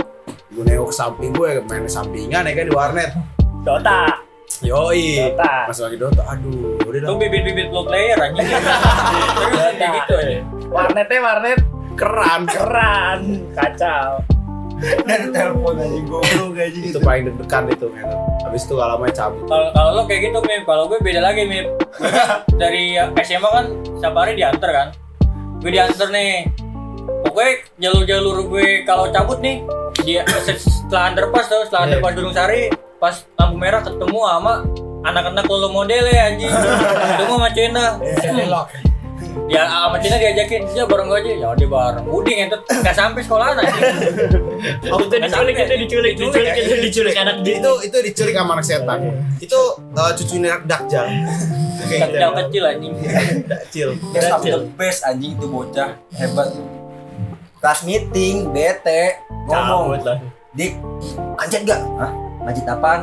F: gue nengok ke samping gue main sampingan ya kan di warnet
D: Dota
F: yoi
D: Dota
F: masuk lagi Dota aduh udah
A: lu
F: dah
A: bibit-bibit lo player anjing terus kayak gitu aja
D: warnetnya warnet
F: keran
D: keran kacau
F: dan telepon aja goblok aja gitu. Itu paling deg-degan itu men. Habis itu gak lama cabut.
A: kalau kalau lo kayak gitu Mip kalau gue beda lagi Mip Gue kan dari SMA kan setiap hari diantar kan gue diantar nih pokoknya jalur-jalur gue kalau cabut nih dia setelah underpass tuh setelah underpass Gunung Sari pas lampu merah ketemu sama anak-anak lolo model ya anjing ketemu sama Cina
H: Belok.
A: dia sama Cina diajakin dia bareng gue aja ya dia bareng uding itu nggak sampai sekolah aja
N: Oh, Kita diculik, kita diculik, diculik, kita diculik anak
F: Itu itu diculik sama anak setan. Itu uh, cucunya anak Dajjal.
A: kecil kecil anjing
F: Dajjal.
C: Best of the best anjing itu bocah hebat. Kelas meeting, bete, ngomong. Dik, anjir gak? Hah? Lanjut apaan?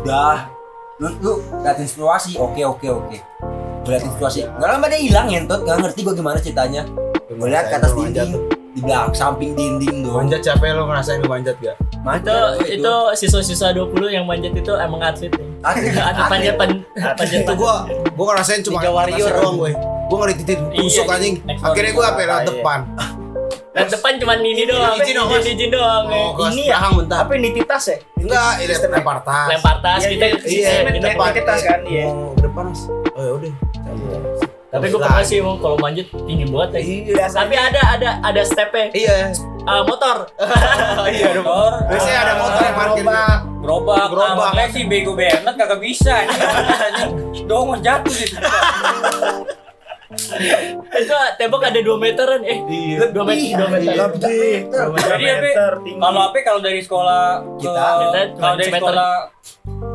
C: Udah. Lu, lu liatin situasi, oke oke oke. Gue liatin situasi. Gak lama dia hilang ngentot, gak ngerti gue gimana ceritanya. Gue liat ke atas dinding, di belakang samping dinding doang.
F: Manjat capek lo ngerasain lu manjat gak?
N: Itu itu siswa-siswa 20 yang manjat itu emang atlet. ya. Atlet panjat pan- panjat
F: Ya, Itu gua gua ngerasain cuma
O: Liga Warrior.
F: ngerasain doang gue. Gua ngeri titik tusuk
N: Iya,
F: anjing.
N: next one.
F: Akhirnya gua apa ya, lewat
C: Iya.
F: depan.
N: Nah, depan cuman ini doang,
F: izin dong,
N: izin izin doang. eh.
F: Oh, kelas
D: ini ya?
F: belakang bentar.
D: tapi ini titas ya
F: Enggak, ini lempar tas.
N: Lempar tas
D: Iya,
N: kita
D: iya,
F: Iya,
N: sistemnya
F: di
N: kita-
F: depan.
D: tas kan, iya.
F: Mau ke depan, Mas. Oh ya udah.
N: Tapi gue pernah sih emang kalau manjat tinggi banget ya.
F: Iya.
N: Tapi ada ada ada stepnya.
F: Iya.
N: Ah, motor.
A: motor
F: Biasanya ada motor yang parkir.
A: gerobak
F: Gerobak.
A: gerobak nah, sih bego banget kagak bisa anjing. dong jatuh di situ
N: itu tembok ada 2 meteran eh.
F: Iya.
N: 2 meter, 2 meter.
D: Iya,
A: jadi apa kalau apa kalau dari sekolah ke
F: Kita,
N: kita cuma
A: kalau dari
N: semeter.
A: sekolah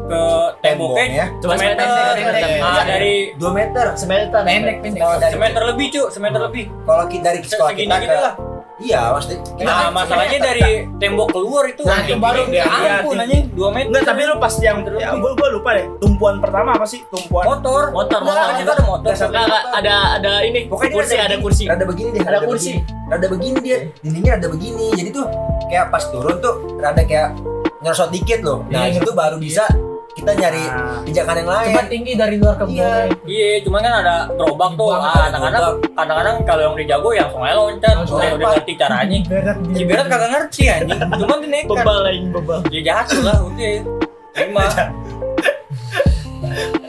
A: ke
C: Tembok
A: temboknya
C: ya.
N: Cuma
A: semeter
N: semeter,
A: nah,
N: semeter.
A: dari
C: Dua meter.
N: Semeter.
H: Pendek, pendek.
C: Kalau dari
A: semeter lebih cu semeter lebih
C: kalau kita dari sekolah
A: segini
C: kita
A: gitu
C: ke
A: lah.
C: Iya, maksudnya
A: nah masalahnya dari tembok keluar itu
F: Nah,
A: anjing,
F: itu baru
A: ya
C: Iya.
D: dia-
A: ampun anjing 2 meter
D: Enggak, tapi lu pas yang Oh, ya, gua, gua lupa deh. Tumpuan pertama apa sih? Tumpuan.
A: motor
N: Motor,
A: Enggak,
N: motor.
A: kan kita ada motor
N: Enggak, enggak, ada ada ini.
C: Pokoknya dia
N: kursi, ya.
C: ada
N: ada
C: gini,
N: kursi.
C: rada begini deh,
N: Ada kursi.
C: begini. Rada begini dia. Dindingnya rada begini. Jadi tuh kayak pas turun tuh rada kayak nyerosot dikit loh. Nah,
H: Iya,
C: itu baru bisa kita nyari pijakan yang lain.
H: Cuma tinggi dari luar ke
C: Iya.
H: bawah.
A: Iya, cuman kan ada gerobak tuh.
H: Bang,
A: Ah, kadang-kadang kadang-kadang kalau yang udah jago yang sengaja loncat,
H: Loncat.
A: udah udah ngerti caranya.
H: Berat
A: Si
H: dia.
A: Berat
D: kan.
A: kagak ngerti anjing, cuman dia nekat.
N: Bebal lain bebal.
A: Dia jahat lah, udah. Terima.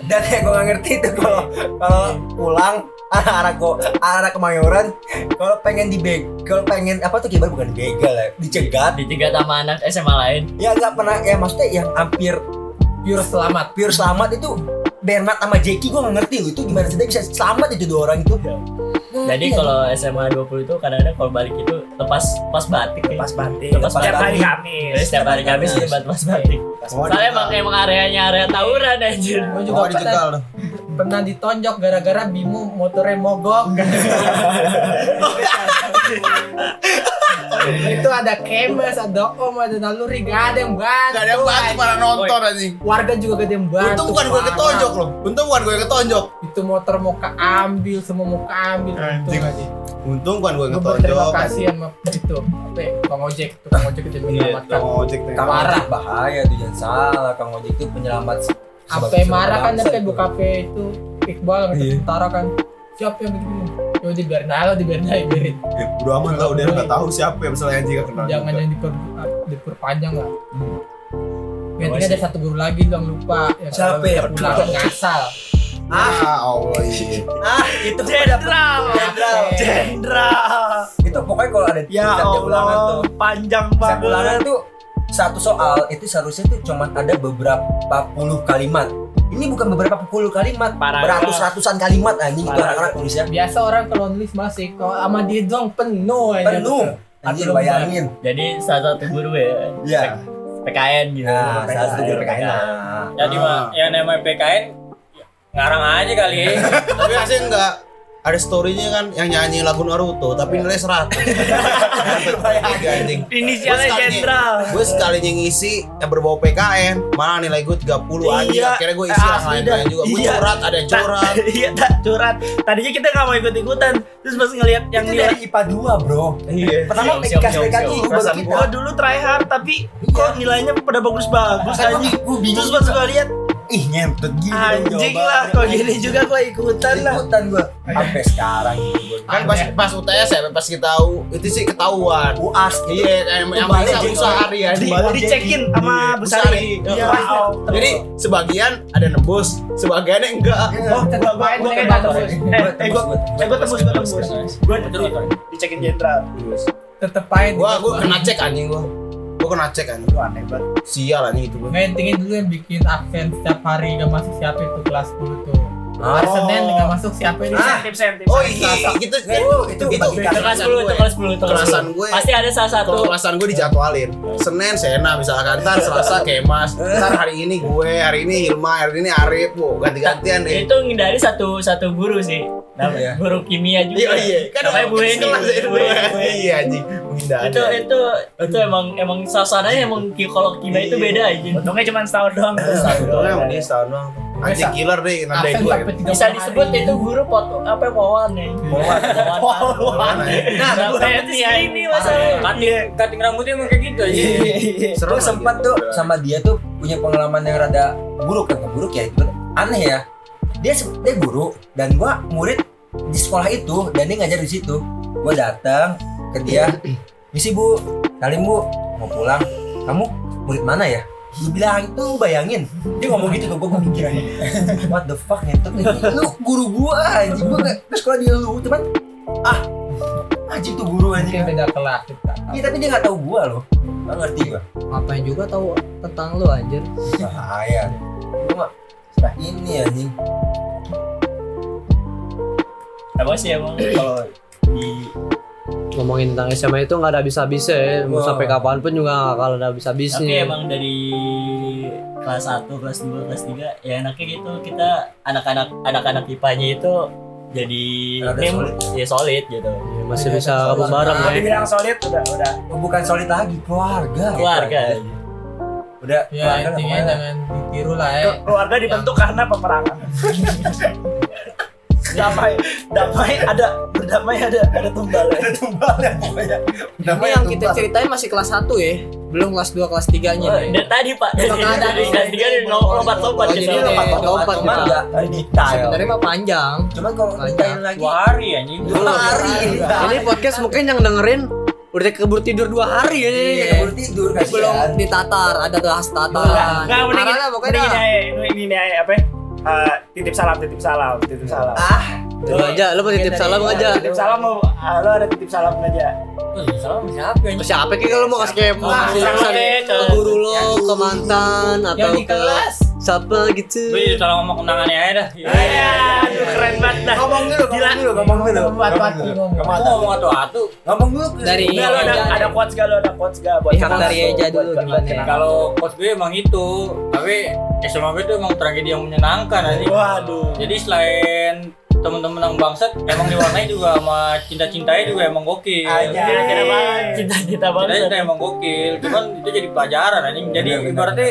C: dan yang gue gak ngerti itu kalau kalau pulang arah gue arah kemayoran kalau pengen dibeg kalau pengen apa tuh kibar bukan dibegal ya dicegat
A: Dicegat sama anak SMA lain.
C: ya nggak pernah ya maksudnya yang hampir
H: Pure selamat.
C: pure selamat itu Bernard sama Jackie gue gak ngerti loh itu gimana sih dia bisa selamat itu dua orang itu Nah, iya.
A: Jadi kalau SMA 20 itu kadang-kadang kalau balik itu lepas lepas batik ya.
C: pas batik
A: Lepas
D: Setiap hari
C: batik.
D: Kamis.
A: Jadi setiap hari Kamis
C: Lepas
A: itu lepas batik. Soalnya emang emang areanya area tawuran anjir.
H: Gue juga
F: Oh,
H: pernah,
F: dijegal dong.
H: pernah ditonjok gara-gara Bimo motornya mogok. itu ada kemes, ada om, ada naluri, gak ada yang bantu.
F: Gak ada yang bantu para nonton anjing.
H: Warga juga gak ada yang bantu.
F: Untung bukan gue
H: parah.
F: ketonjok loh. Untung bukan gue ketonjok.
H: Itu motor mau keambil, semua mau keambil. Untung
F: Anjing.
H: aja.
F: Untung bukan gue
H: Gue
F: ketonjok.
H: berterima kasih sama itu. Apa ya? Bang Ojek, tukang ojek itu yang menyelamatkan.
F: Ojek
C: Kang
H: Parah.
C: Ojek bahaya tuh jangan salah Kang Ojek tuh penyelamat se-
H: apa
C: sebagai
H: marah kan
C: bangsa
H: tapi
C: itu.
H: buka kafe itu Iqbal nggak
C: Iya.
H: tentara kan siapa yang begini ya dibiarin aja lah dibiarin aja biarin
F: Udah aman Eh, lah, udah nggak tahu siapa yang misalnya anjing gak
C: Nah,
F: kenal.
C: gitu.
H: jangan
F: juga.
H: yang diper diperpanjang lah
C: Oh,
H: Gantinya ada satu guru lagi dong lupa ya,
C: Siapa ya?
H: Pulang kan? ngasal
F: Ah, Allah iya.
C: ah itu
D: Eh, Jenderal.
C: Jenderal.
D: Jenderal.
C: itu pokoknya kalau ada
D: Ya
C: setiap jam ulangan tuh
D: Allah, panjang
C: setiap ulangan
D: banget.
C: tuh satu soal itu seharusnya tuh cuman ada beberapa puluh kalimat ini bukan beberapa puluh kalimat
A: Paragraf.
C: beratus-ratusan kalimat anjing itu
A: Paragraf.
C: anak-anak tulisnya
H: biasa orang kalau nulis masih kalau sama dia doang
D: Iya,
H: penuh aja
C: penuh anjir
H: Aduh,
C: bayangin
A: Jadi salah satu guru ya.
F: Iya.
A: PKN gitu.
C: nah salah satu guru PKN lah
E: Jadi
C: Ah.
E: mah yang namanya PKN ngarang aja kali.
A: ya.
F: Tapi asli enggak ada story-nya kan yang nyanyi lagu Naruto tapi nilai 100. Tiga, anjing.
D: Inisialnya
F: Bos, kali ini.
D: Jenderal.
F: Gue sekalinya ngisi yang berbau PKN, malah nilai gue 30 anjing.
D: Iya.
F: Akhirnya gue isi yang
D: Asli
F: lain
D: dah.
F: juga. Gue
D: Iya.
F: curhat, ada yang curhat.
D: Iya, tak curhat. Tadinya kita nggak mau ikut ikutan, terus pas ngelihat yang
C: itu
D: nilai.
C: dari IPA 2 bro
D: Iya.
C: pertama
A: Siap, siap,
C: PKS
A: siap,
C: PKI
A: siap.
C: guru baru
F: Perasaan
C: kita
D: Gua dulu try hard tapi kok nilainya pada bagus-bagus
C: Emang
D: anjing.
C: Kan gua bingung
D: Terus pas gua lihat
C: ih nyentet gitu
D: anjing lah kok gini juga gua ikutan lah.
C: ikutan gua sampai sekarang gitu gua
F: Kan pas pas UTS ya, pas kita u- itu sih ketahuan.
C: UAS gitu
F: Iya, yang yang
C: Kembali
F: bisa
C: aja.
F: usaha hari ya.
D: Di,
F: Kembali.
D: dicekin
F: Iya,
D: sama Bu Sari.
F: Sari.
D: Ya, Allah.
F: Jadi sebagian ada nembus, sebagiannya enggak.
C: oh
H: tetap main mereka nggak tembus
D: Eh, eh gua eh gua tembus gua tembus. Gua dicekin jenderal.
H: tetap
F: Gua
H: aja dibuat
F: gua
H: bahan.
F: kena cek anjing gua. Gua kena cek anjing.
D: Lu aneh banget.
F: Sial anjing itu gua.
H: Ngentingin dulu Nah, yang bikin absen setiap hari gak masuk siapa itu kelas 10 tuh
C: Oh.
H: Hari Senin gak masuk siapa itu
C: Ah,
D: Tipsen, tipsen, tipsen.
F: Oh iya, gitu
C: Nggak, Nah, itu itu
F: itu
C: bagi
A: Itu
C: kakak
A: kelas 10, itu kelas 10, itu kelas
F: Kelasan
A: 10.
F: gue.
A: Pasti ada salah satu
F: kalau kelasan gue dijadwalin Senin Sena misalkan Ntar Selasa Kemas Ntar hari ini gue Hari ini Hilma Hari ini Arif Wow ganti-gantian deh
A: itu ngindari satu satu guru sih. Namanya
C: Iya.
A: guru kimia juga.
F: Iya iya Kan
A: Namanya Bu Eni.
F: kelas itu
A: Bu Eni.
F: Iya anjing Menghindari
A: itu itu itu emang emang suasananya emang ki- kalau kimia itu beda aja
D: Untungnya cuma setahun doang.
F: Untungnya emang dia Iya. setahun doang Anjing killer deh gitu. Nandai
H: absen
F: gue
H: sampai 30
A: bisa disebut
D: ya
H: hari.
A: itu guru foto apa wawan ya wawan wawan
F: ya?
A: nah rambut ini
E: Kating
A: masalahnya kan
E: kating rambutnya emang kayak gitu aja.
F: Iya,
C: Gue sempat tuh sama dia tuh punya pengalaman yang rada buruk kan buruk ya itu aneh ya dia se- dia guru dan gua murid di sekolah itu dan dia ngajar di situ gua datang ke dia misi bu salim bu mau pulang kamu murid mana ya Dia bilang itu bayangin dia ngomong gitu ke gua gua mikir aja what the fuck ngentot nih lu guru gua anjing gua nggak ke sekolah di lu cuman ah anjing tuh guru
H: mungkin
C: anjing
H: beda kelas kita
C: Iya tapi dia nggak tahu gua loh nggak ngerti gua
G: Ngapain juga tahu tentang lu anjir.
C: bahaya cuma nah ini anjing
A: apa sih emang kalau di
G: Ngomongin tentang SMA itu nggak ada habis-habisnya ya. Mau
C: Wah.
G: sampai kapanpun juga nggak bakal ada habis-habisnya.
A: tapi
B: Iya.
A: emang dari kelas 1, kelas 2, kelas 3 ya enaknya gitu kita anak-anak anak-anak IPA-nya itu jadi
C: Rada
A: tim
C: solid.
A: ya solid gitu
G: Ya, masih bisa
B: Iya,
G: gabung bareng
D: Kalau
G: ya.
D: dibilang solid udah udah.
C: Oh, bukan solid lagi keluarga
A: keluarga
C: udah
H: ya
C: keluarga lah
H: intinya
C: pokoknya.
H: jangan ditiru lah ya
D: Keluarga dibentuk karena peperangan. damai, damai ada berdamai ada ada tumbal. Ada tumbal ya pokoknya.
G: Ini
P: ya,
G: yang kita ceritain masih kelas 1 ya. Belum kelas 2 kelas ya. 3-nya
A: Oh,
G: nih.
A: dari tadi pak dari
G: Udah nggak ada
A: dari
G: nih.
A: kelas 3 udah lompat-lompat
G: Oh,
A: gitu
G: jadi lompat-
C: Oh, Lompat-lompat,
G: lompat
C: cuman
G: kita.
C: nggak detail
G: Sebenarnya mah panjang.
C: cuman kalau detail lagi
E: Dua hari anjing.
C: dua
P: ya.
C: hari
G: Ini podcast mungkin yang dengerin udah keburu tidur dua hari ya.
C: Iya, keburu tidur
G: Belum
C: kasihan
G: ditatar, ada bahas tataran.
F: Ah,
D: Enggak
G: Parah lah
D: mending mending ini
G: pokoknya.
D: aja, ini ini aja apa? ya? eh, titip salam, titip salam, titip salam.
F: Ah.
P: Lu aja, lu positif salam
G: ya.
P: aja.
D: Titip salam mau, ah, lo ada titip salam aja.
A: Salam siapa ini?
P: Siapa kayak kalau mau kasih kayak
Q: Wah,
P: pesan
Q: salam deh,
P: ke
Q: salam.
P: guru lo, ke mantan atau
H: Yang di
P: ke
H: kelas.
P: siapa gitu.
A: Lu jadi tolong ngomong kenangannya aja dah.
D: Iya, aduh, keren banget dah.
F: Ngomong dulu, ngomong dulu, ngomong dulu. Iya,
H: Empat-empat
A: Kamu ngomong atu-atu.
F: Ngomong dulu. ke-
B: Dari
D: Udah lo ada ada quotes gak lo ada quotes gak
F: Iya,
D: buat
B: Pihak
D: kenang
B: dari
D: lo,
B: Eja
D: buat-
B: dulu
D: buat- buat
B: gimana?
D: kenang.
A: Kalau coach gue emang itu, tapi SMA gue itu emang tragedi yang menyenangkan aja.
D: Waduh.
A: Jadi selain temen-temen yang bangsat, emang diwarnai juga sama cinta-cintanya juga emang gokil.
F: Iya,
D: Aja.
Q: Cita-cita
A: Cinta
Q: banget.
A: cinta emang gokil, cuman itu jadi pelajaran anjing. Jadi
D: Iya,
A: ibaratnya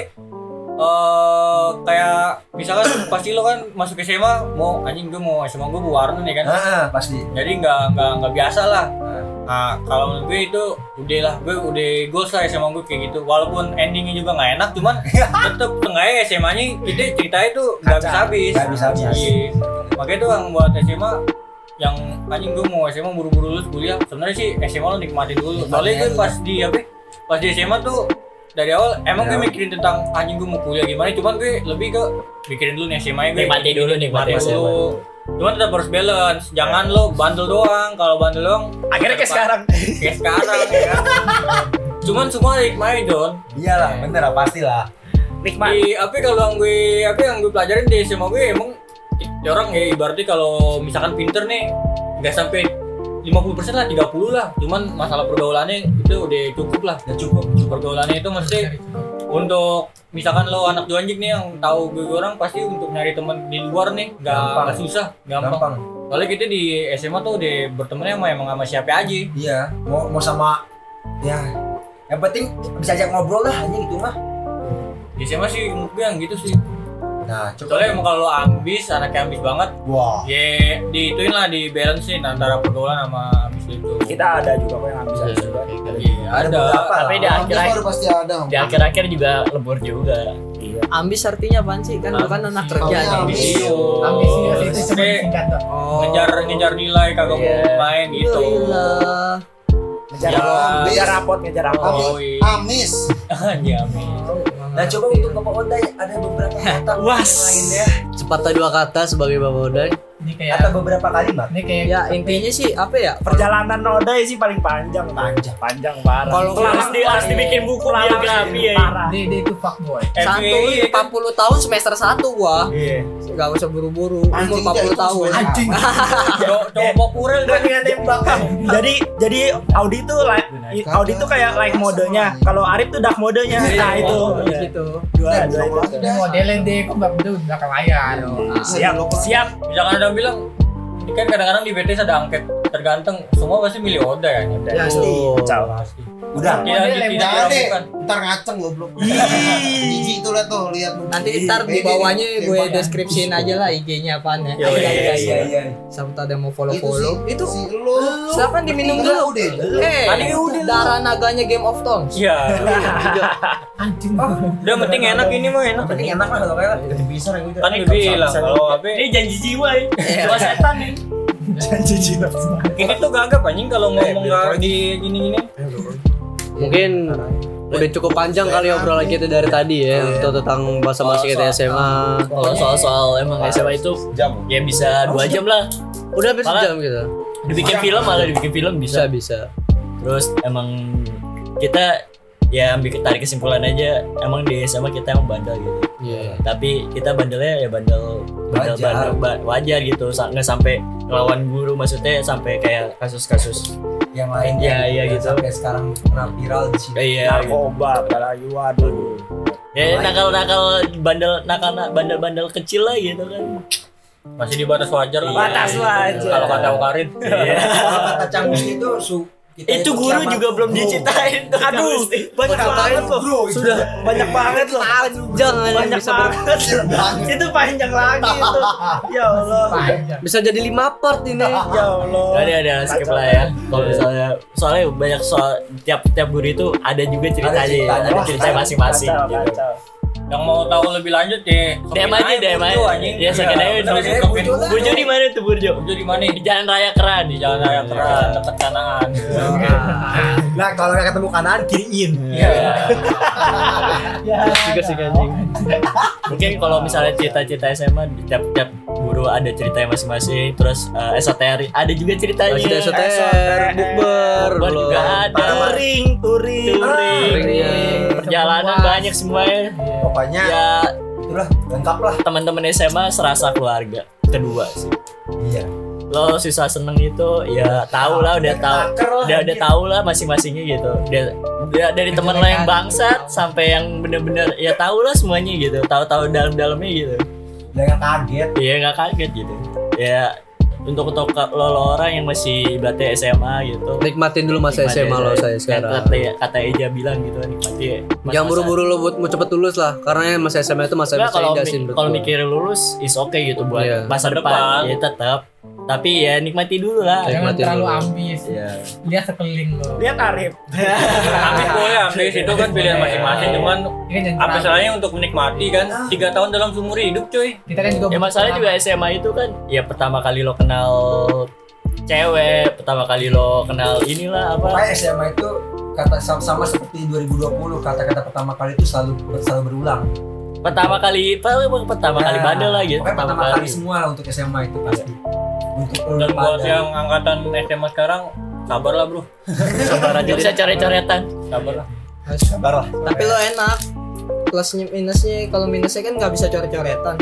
A: eh kayak misalkan pasti lo kan masuk SMA mau anjing gue mau SMA gue berwarna nih kan
C: Ah, pasti.
A: jadi nggak nggak nggak biasa lah nah kalau menurut gue itu udah lah gue udah goals lah SMA gue kayak gitu walaupun endingnya juga nggak enak cuman tetep tengahnya SMA nya kita ceritanya tuh nggak bisa habis
C: Nggak habis-habis.
A: Iya. makanya tuh yang buat SMA yang anjing gue mau SMA buru-buru lulus kuliah sebenarnya sih SMA lo nikmatin dulu soalnya gue pas di apa ya, pas di SMA tuh dari awal emang gue mikirin tentang anjing gue mau kuliah gimana cuman gue lebih ke mikirin dulu nih SMA gue
Q: Nikmati dulu, nikmati
A: Nikmati
Q: SMA.
A: dulu. Cuman tetap harus balance. Jangan lo bandel doang. Kalau bandel doang
D: Akhirnya kayak sekarang.
A: kayak sekarang ya. kan? Cuman semua ada hikmahnya, Don.
C: Iyalah, bener Iya lah, pastilah.
D: Nikmat.
A: Di apa kalau yang gue apa yang gue pelajarin di SMA gue emang ya orang ya ibaratnya kalau misalkan pinter nih nggak sampai 50% lah, 30 lah. Cuman masalah pergaulannya itu udah cukup lah. Udah cukup. Pergaulannya itu mesti untuk misalkan lo anak anjing nih yang tahu gue orang pasti untuk nyari teman di luar nih nggak
C: Gampang.
A: nggak susah gampang.
C: Gampang.
A: Soalnya kita di SMA tuh udah bertemannya sama emang sama siapa aja.
C: Iya, mau mau sama ya yang penting bisa ajak ngobrol lah hanya gitu mah.
A: Di SMA sih menurut gue yang gitu sih.
C: Nah, coba
A: Soalnya emang kalau lo ambis, anaknya ambis banget,
C: wah.
A: ya diituin lah, di balancein antara pergaulan sama ambis itu.
D: Kita ada juga kok yang habis habis juga.
A: Iya, ada.
Q: Tapi di
F: Orang
Q: akhir-akhir
F: baru pasti ada.
Q: di akhir-akhir juga lebur juga.
B: Ambis artinya apaan sih? Kan bukan anak kerja. nih.
F: Ambis.
G: Iya,
A: Ambisius.
H: Ambisius itu cuma
A: Maksudnya
H: singkat dong.
F: Oh.
A: ngejar ngejar nilai kagak
Q: Iya.
A: mau main gitu.
B: Iya. Yoilah.
D: Ngejar
A: Ya.
D: ngejar rapot, ngejar rapot.
A: Oh,
F: Amis. Amis.
A: iya. amin.
C: Nah, coba untuk Bapak Oda ada beberapa kata
Q: Was.
C: lainnya
P: Sepatah dua kata sebagai Bapak Odan.
H: Ini kayak
C: atau beberapa kalimat.
H: ini kayak
B: Ya intinya sih apa ya?
D: Perjalanan Noda sih paling panjang, panjang, panjang parah.
B: Kalau-
Q: Harus, di, harus dibikin buku biografi ya.
D: parah.
H: dia dia itu fuckboy.
B: Satu
A: FPI, ya kan?
B: 40 tahun semester 1 gua.
D: Iya.
B: Gak usah buru-buru. Umur
F: Anjing, gitu. dia
B: 40
F: itu
B: tahun.
F: sebenarnya.
A: Cowok- Cowok kan. popurel
D: Gua
A: deh.
D: kira nembak. Jadi jadi Audi tuh like Audi tuh kayak like
Q: Iya.
D: modenya. Kalau Arif tuh dark modenya. Nah itu.
A: Iya.
B: Gitu.
D: Dua dua itu.
H: Ini modelnya dia kok nggak bener di belakang layar.
F: Iya,
D: Siap siap.
A: Misalkan ada yang bilang, ini kan kadang-kadang di BTS ada angket terganteng, semua pasti milih Oda ya. Oda.
D: Kacau.
A: Pasti.
C: Udah.
A: Iya,
H: Model
A: di-
H: yang
A: di-
F: Jangan deh,
A: diragukan.
F: ntar ngaceng goblok. Jijik tuh liat tuh, liat.
B: Nanti ntar di bawahnya gue deskripsiin aja lah IG-nya apaan ya.
C: Iya iya iya iya.
B: Sampai ada yang mau
F: Itu sih,
B: follow-follow.
F: itu sih lu.
B: Silakan diminum
F: Udah,
B: dulu.
F: udah.
B: Eh,
A: Tadi udah.
B: darah naganya Game of Thrones.
A: Iya.
H: Anjing.
A: Udah penting enak ini mah enak.
C: Penting Oh, enak lah kalau kayak jadi bisa lah gitu.
A: Kan udah bilang kalau apa
Q: Ini janji jiwa ya.
D: Iya.
Q: Jiwa setan nih.
A: ini tuh gagap anjing kalau ngomong gak di gini-gini.
P: Mungkin udah cukup panjang kali obrolan kita dari tadi
F: Oh, iya.
P: ya untuk tentang
A: Oh,
P: masa-masa kita SMA.
Q: Kalau soal-soal emang SMA itu
C: Jam.
Q: ya bisa dua jam lah.
P: Udah habis
Q: Malah-
P: jam gitu.
Q: Dibikin film malah dibikin film
P: Bisa
Q: bisa.
P: bisa.
Q: Terus emang kita ya ambil tarik kesimpulan aja emang di SMA kita emang bandel gitu
P: Iya.
Q: tapi kita bandelnya ya bandel bandel
C: Wajar.
Q: bandel ba- wajar gitu sa- nggak sampai ngelawan guru maksudnya sampai kayak kasus-kasus
C: Yang lain
Q: Iya, iya
C: yang
Q: gitu.
C: Sampai sekarang pernah viral di sini.
Q: kayak
D: Narkoba apalagi waduh.
Q: ya nakal-nakal bandel nakal bandel-bandel kecil lah gitu kan
A: Masih di batas wajar lah. Iya.
D: Batas wajar.
A: Kalau kata Ukarin.
Q: Iya.
C: Kalau kata Canggus itu su kita
D: Iya,
Q: itu guru
C: kiamat. Oh.
Q: juga belum
C: Bro.
Q: diceritain aduh
D: Banyak banget loh.
F: Bro, itu
D: Sudah banyak
Q: Iya.
D: banget loh.
P: Jangan
D: Banyak
P: bisa ber-
D: banget. Itu panjang lagi itu. Ya Allah.
H: Panjang.
P: bisa jadi lima part ini.
D: Ya Allah.
Q: Gak ada ada skip lah ya kalau misalnya soalnya banyak soal tiap tiap guru itu ada juga ceritanya
C: ceritanya.
Q: ada ceritanya masing-masing
D: Kacau,
Q: gitu
D: kacau.
E: yang mau tahu lebih lanjut ya
A: DM aja, DM aja. Iya, sokin aja
E: Iya,
A: Burjo.
E: sokin aja.
A: Burjo di mana tuh Burjo?
E: Burjo di mana?
A: Di Jalan Raya Keran Iya.
E: Di jalan raya keran, dekat kanan.
C: Nah kalau nggak ketemu kanan kiriin.
A: juga sih anjing. Mungkin kalau misalnya cerita-cerita SMA di tiap-tiap guru ada ceritanya masing-masing, terus eh, esoterik ada juga ceritanya.
B: Masih ada SOTR, bukber,
A: Urban juga ada. Touring, touring,
B: Ah.
A: Perjalanan banyak semuanya.
C: Iya. Pokoknya
A: Ya,
C: itulah lengkap lah.
A: teman-teman SMA serasa keluarga kedua sih.
C: Iya.
A: Lo sisa seneng itu ya tau lah udah tahu
C: Taker lah,
A: udah udah
C: anjing.
A: tau lah masing-masingnya gitu dia, dia- dari teman lo yang bangsat sampai yang bener-bener ya tau lah semuanya gitu tahu-tahu dalam-dalamnya gitu
C: Jangan kaget.
A: ya nggak kaget gitu ya untuk untuk ke- lo, lo orang yang masih ibaratnya SMA gitu
B: Nikmatin dulu masa
A: nikmati
B: SMA lo
A: aja.
B: saya
A: Kayak
B: sekarang.
A: kata, kata Eja bilang gitu nikmati masa-
B: Jangan buru-buru lo buat mau cepet lulus lah,
G: ya
B: karena masa SMA itu masa
A: Nggak,
B: masa
A: kalau
B: indah
A: mi-
B: sih menurut
A: kalau
B: gua.
A: mikir lulus is oke gitu buat
B: Iya.
A: masa depan,
E: depan.
A: ya tetap tapi ya nikmati dulu lah
H: Jangan
B: Nikmatin
H: terlalu
B: dulu.
H: ambis. Lihat sekeliling lo.
D: Lihat Arif.
E: Ambil boleh, ambil itu kan pilihan masing-masing.
A: Iya.
E: Cuman
H: Ini jangan
E: apa
H: terlalu.
E: salahnya untuk menikmati kan? Tiga tahun dalam seumur hidup cuy.
H: Kita kan juga
A: ya
H: butuh
A: masalahnya juga
H: pengalaman.
A: SMA itu kan ya pertama kali lo kenal cewek pertama kali lo kenal inilah apa
C: Pokoknya SMA itu kata sama seperti 2020 kata-kata pertama kali itu selalu selalu berulang.
A: pertama kali paling pertama kali
C: Nah,
A: bandel lah gitu
C: Pokoknya pertama kali semua lah untuk SMA itu pasti. Untuk
E: Dan
C: urban
E: buat
C: dan-
E: yang angkatan SMA sekarang, sabarlah bro,
A: sabar aja bisa coret-coretan
E: sabarlah.
C: sabar lah.
G: Tapi lo enak. Plusnya minusnya kalau minusnya kan nggak bisa coret-coretan.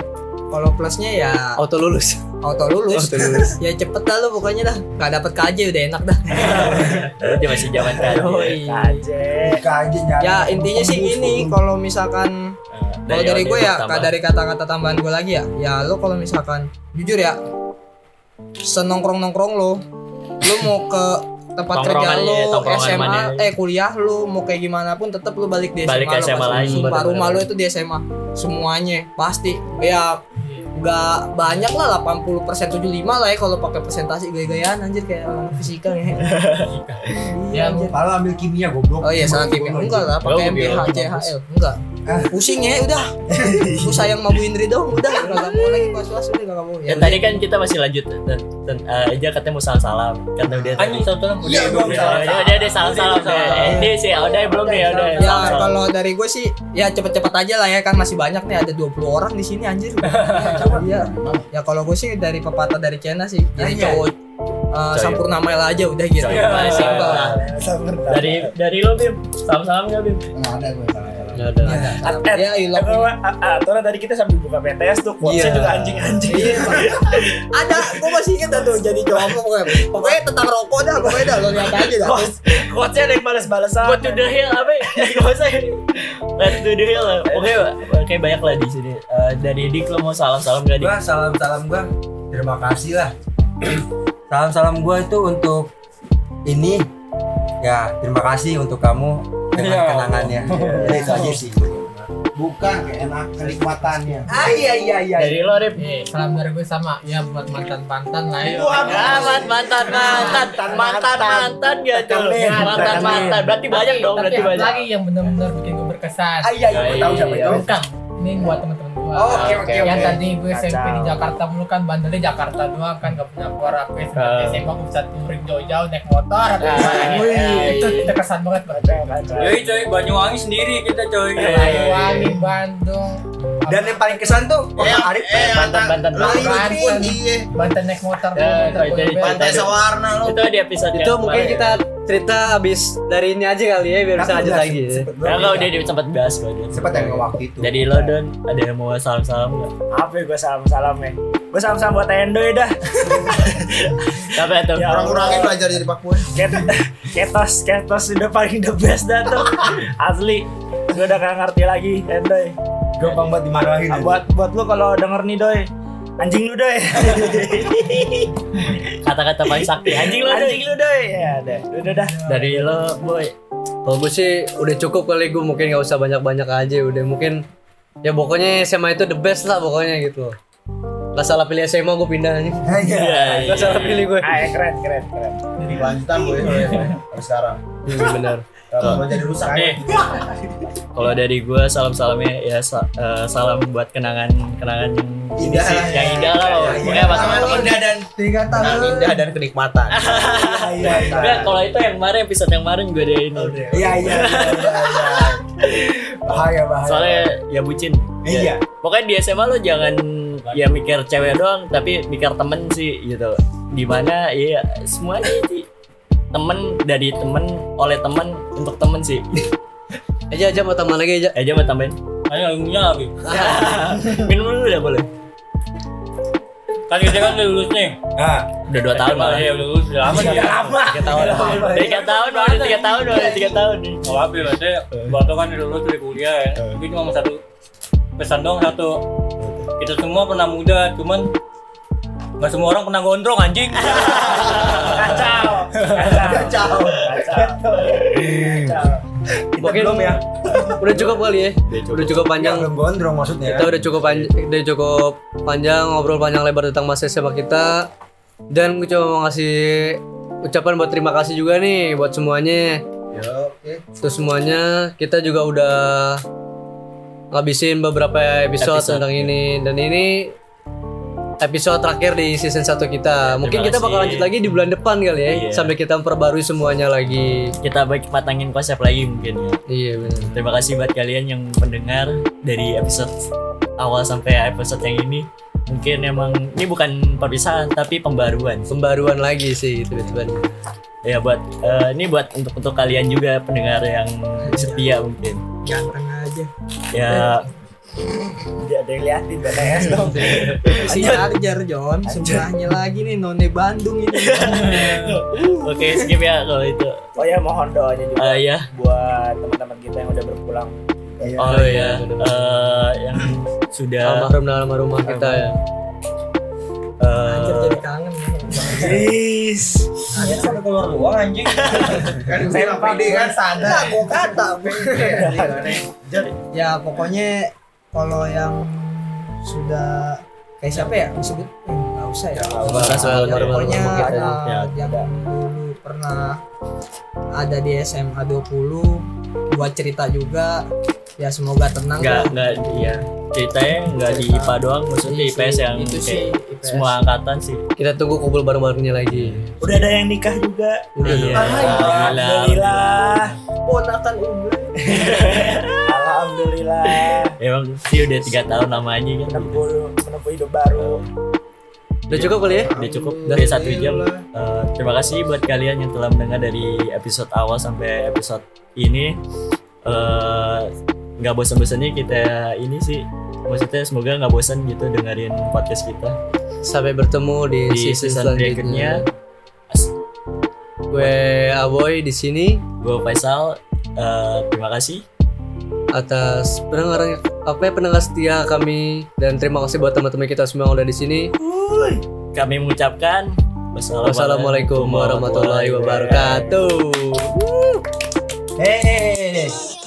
G: Kalau plusnya ya
B: Auto lulus.
G: auto
C: Oh,
G: lulus.
B: Auto lulus.
G: ya cepet dah lo pokoknya dah. Nggak dapet KJ udah enak dah.
A: dia masih zaman kan
G: Yoi.
C: Nikah aja nyari.
G: Ya intinya sih gini, kalau misalkan kalau dari gue ya, ka- dari kata-kata tambahan gue lagi ya, ya lo kalau misalkan jujur ya, senongkrong nongkrong lo, lo mau ke tempat kerja
A: Tongkrongan
G: lo,
A: ya, tongkrongan
G: SMA,
A: mana ya.
G: eh kuliah lo, mau kayak gimana pun tetap lo balik di SMA,
A: Balik ke
G: lo,
A: SMA
G: pasti.
A: lagi,
G: Sumpah,
A: bener-bener.
G: rumah lo itu di SMA, semuanya pasti ya nggak banyak lah 80 75 lah ya kalau pakai presentasi gaya-gayaan anjir kayak orang fisika ya.
A: Iya,
H: Ya,
G: Iya, anjir.
C: Kalau ambil kimia goblok.
G: Oh iya salah kimia enggak lah pakai
A: Enggak,
G: MPH
A: biologi
G: CHL enggak pusing ya udah aku sayang mabu Indri dong udah nggak mau lagi was was udah nggak mau
A: Ya, tadi kan kita masih lanjut dan dan eh, aja katanya mau salam-salam karena udah
E: Kan
A: tadi.
E: satu tahun
F: Iya,
E: udah,
F: belum
E: udah,
F: salam.
A: Ya
E: udah,
A: udah deh salam-salam deh. Eh, Ini sih udah belum nih udah.
G: ya
A: salam-salam.
G: kalau dari gue sih ya cepet-cepet aja lah ya kan masih banyak nih ada 20 orang di sini anjir ya ya kalau gue sih dari pepatah dari China sih jadi
C: Iya.
G: cowok eh, sampurnamalah aja udah gitu
A: Iya, masih, Bang.
C: Sabar.
A: Dari dari lo Bim, salam-salam enggak Bim?
C: Nggak ada gue salah.
A: Ya udah.
G: ya I love
D: Iya.
G: you.
D: Aturan Ah, tadi kita sambil buka PTS tuh, quotesnya
G: Iya.
D: juga anjing-anjing.
G: ada gue masih inget dah tuh jadi cowok gue pokoknya tentang rokok dah pokoknya dah lo lihat aja dah
D: Quotes, quotesnya ada yang balas-balasan.
A: Go to the hill apa? Gak usah.
E: Iya,
A: Let's do the hill. Oke, oke banyak lah di sini. Eh, dari Dik lo mau salam-salam gak Dik?
C: Gua salam-salam gua. Terima kasih lah. Salam-salam gua itu untuk ini. Ya, terima kasih untuk kamu dengan kenangannya. Ya, itu aja sih.
F: Bukan keenak kenikmatannya.
C: Ah iya iya iya.
A: Dari lo Rip.
H: Eh, salam dari gue sama ya buat mantan mantan lah ya.
A: Amat Ah, mantan mantan mantan mantan gak tuh mantan mantan berarti banyak dong
H: Tapi
A: berarti
H: ada
A: banyak
H: lagi yang benar-benar bikin gue berkesan.
C: Ah iya iya gua tahu siapa itu.
H: Bukan. Ini buat teman-teman gue.
G: Oh,
C: Oke oke
H: yang
C: oke.
H: tadi gue SMP di Jakarta mulu kan bandelnya Jakarta doang kan gak punya keluarga gue SMP
A: Ah.
H: SMA gue bisa touring jauh-jauh naik motor atau gimana. itu kita kesan banget banget
E: Yoi coy, Banyuwangi sendiri kita coy.
H: Banyuwangi Bandung
C: Dan yang paling kesan tuh
F: Iya.
C: kota Arif
A: mantan mantan
F: Eh, Lu
H: Banten.
F: ikutin iya.
H: Banten naik motor
A: Ya,
H: motor
A: itu-
H: bolak-balik.
A: itu-
F: Pantai Sewarna lu.
A: itu di episode
R: Ya,
B: Itu mungkin kita cerita habis dari ini aja kali ya biar
R: Nah,
B: bisa
R: iya.
B: lanjut lagi.
A: ya nggak udah di- sempat bahas kok Don.
C: Sempat yang waktu itu.
A: dari lo Don ada yang mau salam salam nggak
D: Apa gue salam-salam ya? Gue salam-salam buat Endo ya dah.
A: apa itu
D: Ya,
F: Kurang-kurangin belajar jadi Pak Boy.
D: Ket- ketos, ketos udah paling the best dah tuh. Asli. Gue udah gak ngerti lagi, Endoy.
C: Gampang banget dimarahin. ya.
D: Nah, buat buat lu kalau denger nih doy, anjing lu doy.
A: kata kata paling sakti anjing lo Don
D: anjing lu doy. Ya udah, udah dah.
A: dari lo boy
B: Kalau gue sih udah cukup kali gue mungkin nggak usah banyak-banyak aja udah mungkin ya pokoknya SMA itu the best lah pokoknya gitu. Gak salah pilih SMA gue pindah aja.
A: Iya,
B: Gak salah pilih gue.
D: Ah, ya, keren, keren, keren.
C: Iya.
F: Lanjutan gue sampai sekarang.
B: Iya, benar.
F: Tuh.
R: Kalau jadi rusak.
A: Nih.
C: Iya.
A: Kalau dari gue salam-salamnya ya sa- eh, salam buat kenangan-kenangan yang ini
C: Indah
A: sih,
C: lah.
A: yang indah lah.
C: Iya, iya.
A: Pokoknya sama teman-teman.
C: Indah dan
R: Tiga
F: Kenangan
R: tahun.
F: indah dan kenikmatan.
R: Iya iya.
A: Enggak, ya, kalau itu yang kemarin episode yang kemarin gue ada ini.
R: Iya iya. iya, iya. Bahaya bahaya.
A: Soalnya ya bucin.
R: Iya.
A: Pokoknya di SMA lo jangan ya mikir cewek doang, tapi mikir temen sih gitu. Dimana ya semuanya sih temen dari temen oleh temen untuk temen sih.
B: aja aja mau tambah
R: Eh,
B: lagi aja
A: Aja mau tambahin.
E: Ayo lagunya habis.
A: Minum dulu udah boleh.
E: Kan kita kan udah lulus nih.
C: Ah, iya,
A: Udah dua tahun malah.
E: Ya udah lulus udah lama
A: Iya,
E: nih.
R: Lama.
A: Tiga tahun.
C: iya,
A: Tiga tahun, udah ada tiga tahun, udah ada tiga tahun nih.
E: Gak apa-apa maksudnya Barto kan udah lulus dari kuliah ya. Mungkin cuma mau satu pesan dong satu. Kita semua pernah muda, cuman nggak semua orang pernah gondrong anjing.
D: Kacau.
C: Iya,
R: Kacau. Kacau. Kita
B: Mungkin-
R: belum ya.
B: udah cukup kali ya udah cukup panjang
R: Iya, Belum gondrong maksudnya.
B: kita udah cukup panjang udah cukup panjang ngobrol panjang lebar tentang masa SMA kita dan gue cuma mau ngasih ucapan buat terima kasih juga nih buat semuanya
R: Ya, oke.
B: terus semuanya kita juga udah ngabisin beberapa
A: Episode,
B: episode,
A: iya.
B: tentang ini dan ini episode terakhir di season 1 kita mungkin kita
A: Iya, kasih.
B: bakal lanjut lagi di bulan depan kali ya
A: Iya.
B: sampai kita memperbarui semuanya lagi
A: Kita baik matangin konsep lagi mungkin ya.
B: iya benar
A: Terima kasih buat kalian yang mendengar dari episode awal sampai episode yang ini. Mungkin emang ini bukan perpisahan tapi pembaruan.
B: pembaruan lagi sih tiba-tiba
A: Ya buat eh, ini buat untuk untuk kalian juga pendengar yang setia mungkin.
R: Ganteng aja.
A: Ya
R: Dia ada yang liatin BTS dong.
G: Si Arjar John, sebelahnya lagi nih none Bandung ini.
A: oke skip ya kalau itu.
R: Oh ya mohon doanya juga
A: Eh, ya.
R: buat teman-teman kita yang udah berpulang.
G: Iya.
R: Iya,
A: Oh ya. Eh, yang sudah
B: almarhum dan almarhumah kita ya
A: eh,
G: Arjar jadi kangen.
R: Please.
E: Anjing sampai keluar ruang anjing.
R: Kan saya pede kan
G: Nah,
R: sadar.
G: gua kata. Iya,
R: Iya,
G: ya pokoknya kalau yang sudah kayak siapa ya disebut Eh, nggak usah ya
A: terima kasih buat
G: Ya,
A: teman-teman
G: pokoknya
A: kita.
G: ada
A: Ya.
G: yang dulu pernah ada di SMA 20 buat cerita juga ya semoga tenang
A: nggak
G: lah.
A: nggak ya ceritanya nggak di IPA doang maksudnya
G: Iya sih,
A: IPS yang
G: itu sih,
A: kayak
G: IPS.
A: semua angkatan sih
B: kita tunggu kumpul bareng-barengnya lagi
R: Udah ada yang nikah juga.
G: Ah,
B: Udah
A: Iya.
B: dong.
A: Alhamdulillah.
R: Alhamdulillah.
G: ponakan Umbul
R: Alhamdulillah.
A: Emang sih udah tiga tahun namanya kan.
R: Menempuh menempuh hidup baru.
B: udah cukup kali ya
A: Udah cukup dari satu jam. Eh, terima kasih buat kalian yang telah mendengar dari episode awal sampai episode ini. Eh, Nggak bosan-bosannya kita ini sih. Maksudnya semoga nggak bosan gitu dengerin podcast kita
B: sampai bertemu di,
A: di
B: season,
A: season
B: Iya selanjutnya
A: berikutnya.
B: gue Aboy di sini
A: Gue Faisal. Eh, terima kasih.
B: atas pendengar apa ya, pendengar setia kami dan terima kasih buat teman-teman kita semua yang udah di sini.
A: Kami mengucapkan
B: Wassalamualaikum warahmatullahi wabarakatuh.
R: Hey, hey, hey, hey.